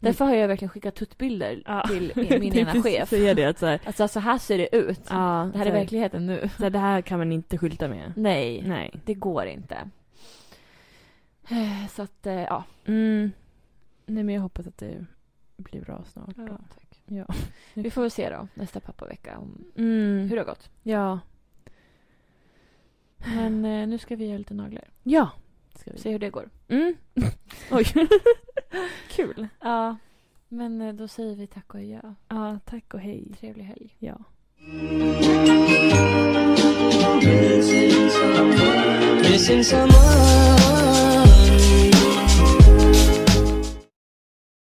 Speaker 1: Därför har jag verkligen skickat tuttbilder
Speaker 2: Ja. <laughs>
Speaker 1: till min
Speaker 2: Det är
Speaker 1: ena
Speaker 2: precis-
Speaker 1: chef.
Speaker 2: Säga det att så här,
Speaker 1: Alltså så här ser <laughs> det ut.
Speaker 2: ja,
Speaker 1: Det här
Speaker 2: så
Speaker 1: är verkligheten nu.
Speaker 2: Så här, det här kan man inte skylta med.
Speaker 1: Nej.
Speaker 2: Nej.
Speaker 1: Det går inte. <sighs> Eh, Så att, eh, ja.
Speaker 2: Mm. Nej men jag hoppas att det blir bra snart. då.
Speaker 1: tack.
Speaker 2: Ja.
Speaker 1: Vi får väl se då nästa pappavecka om
Speaker 2: Mm.
Speaker 1: hur det har gått.
Speaker 2: Ja.
Speaker 1: Men eh, nu ska vi göra lite naglar.
Speaker 2: Ja. Ska vi.
Speaker 1: Se hur det går.
Speaker 2: Mm. <laughs> Oj. Kul.
Speaker 1: Ja. Men eh, då säger vi tack och ja.
Speaker 2: Ja, tack och hej.
Speaker 1: Trevlig helg.
Speaker 2: Ja.
Speaker 3: Missing someone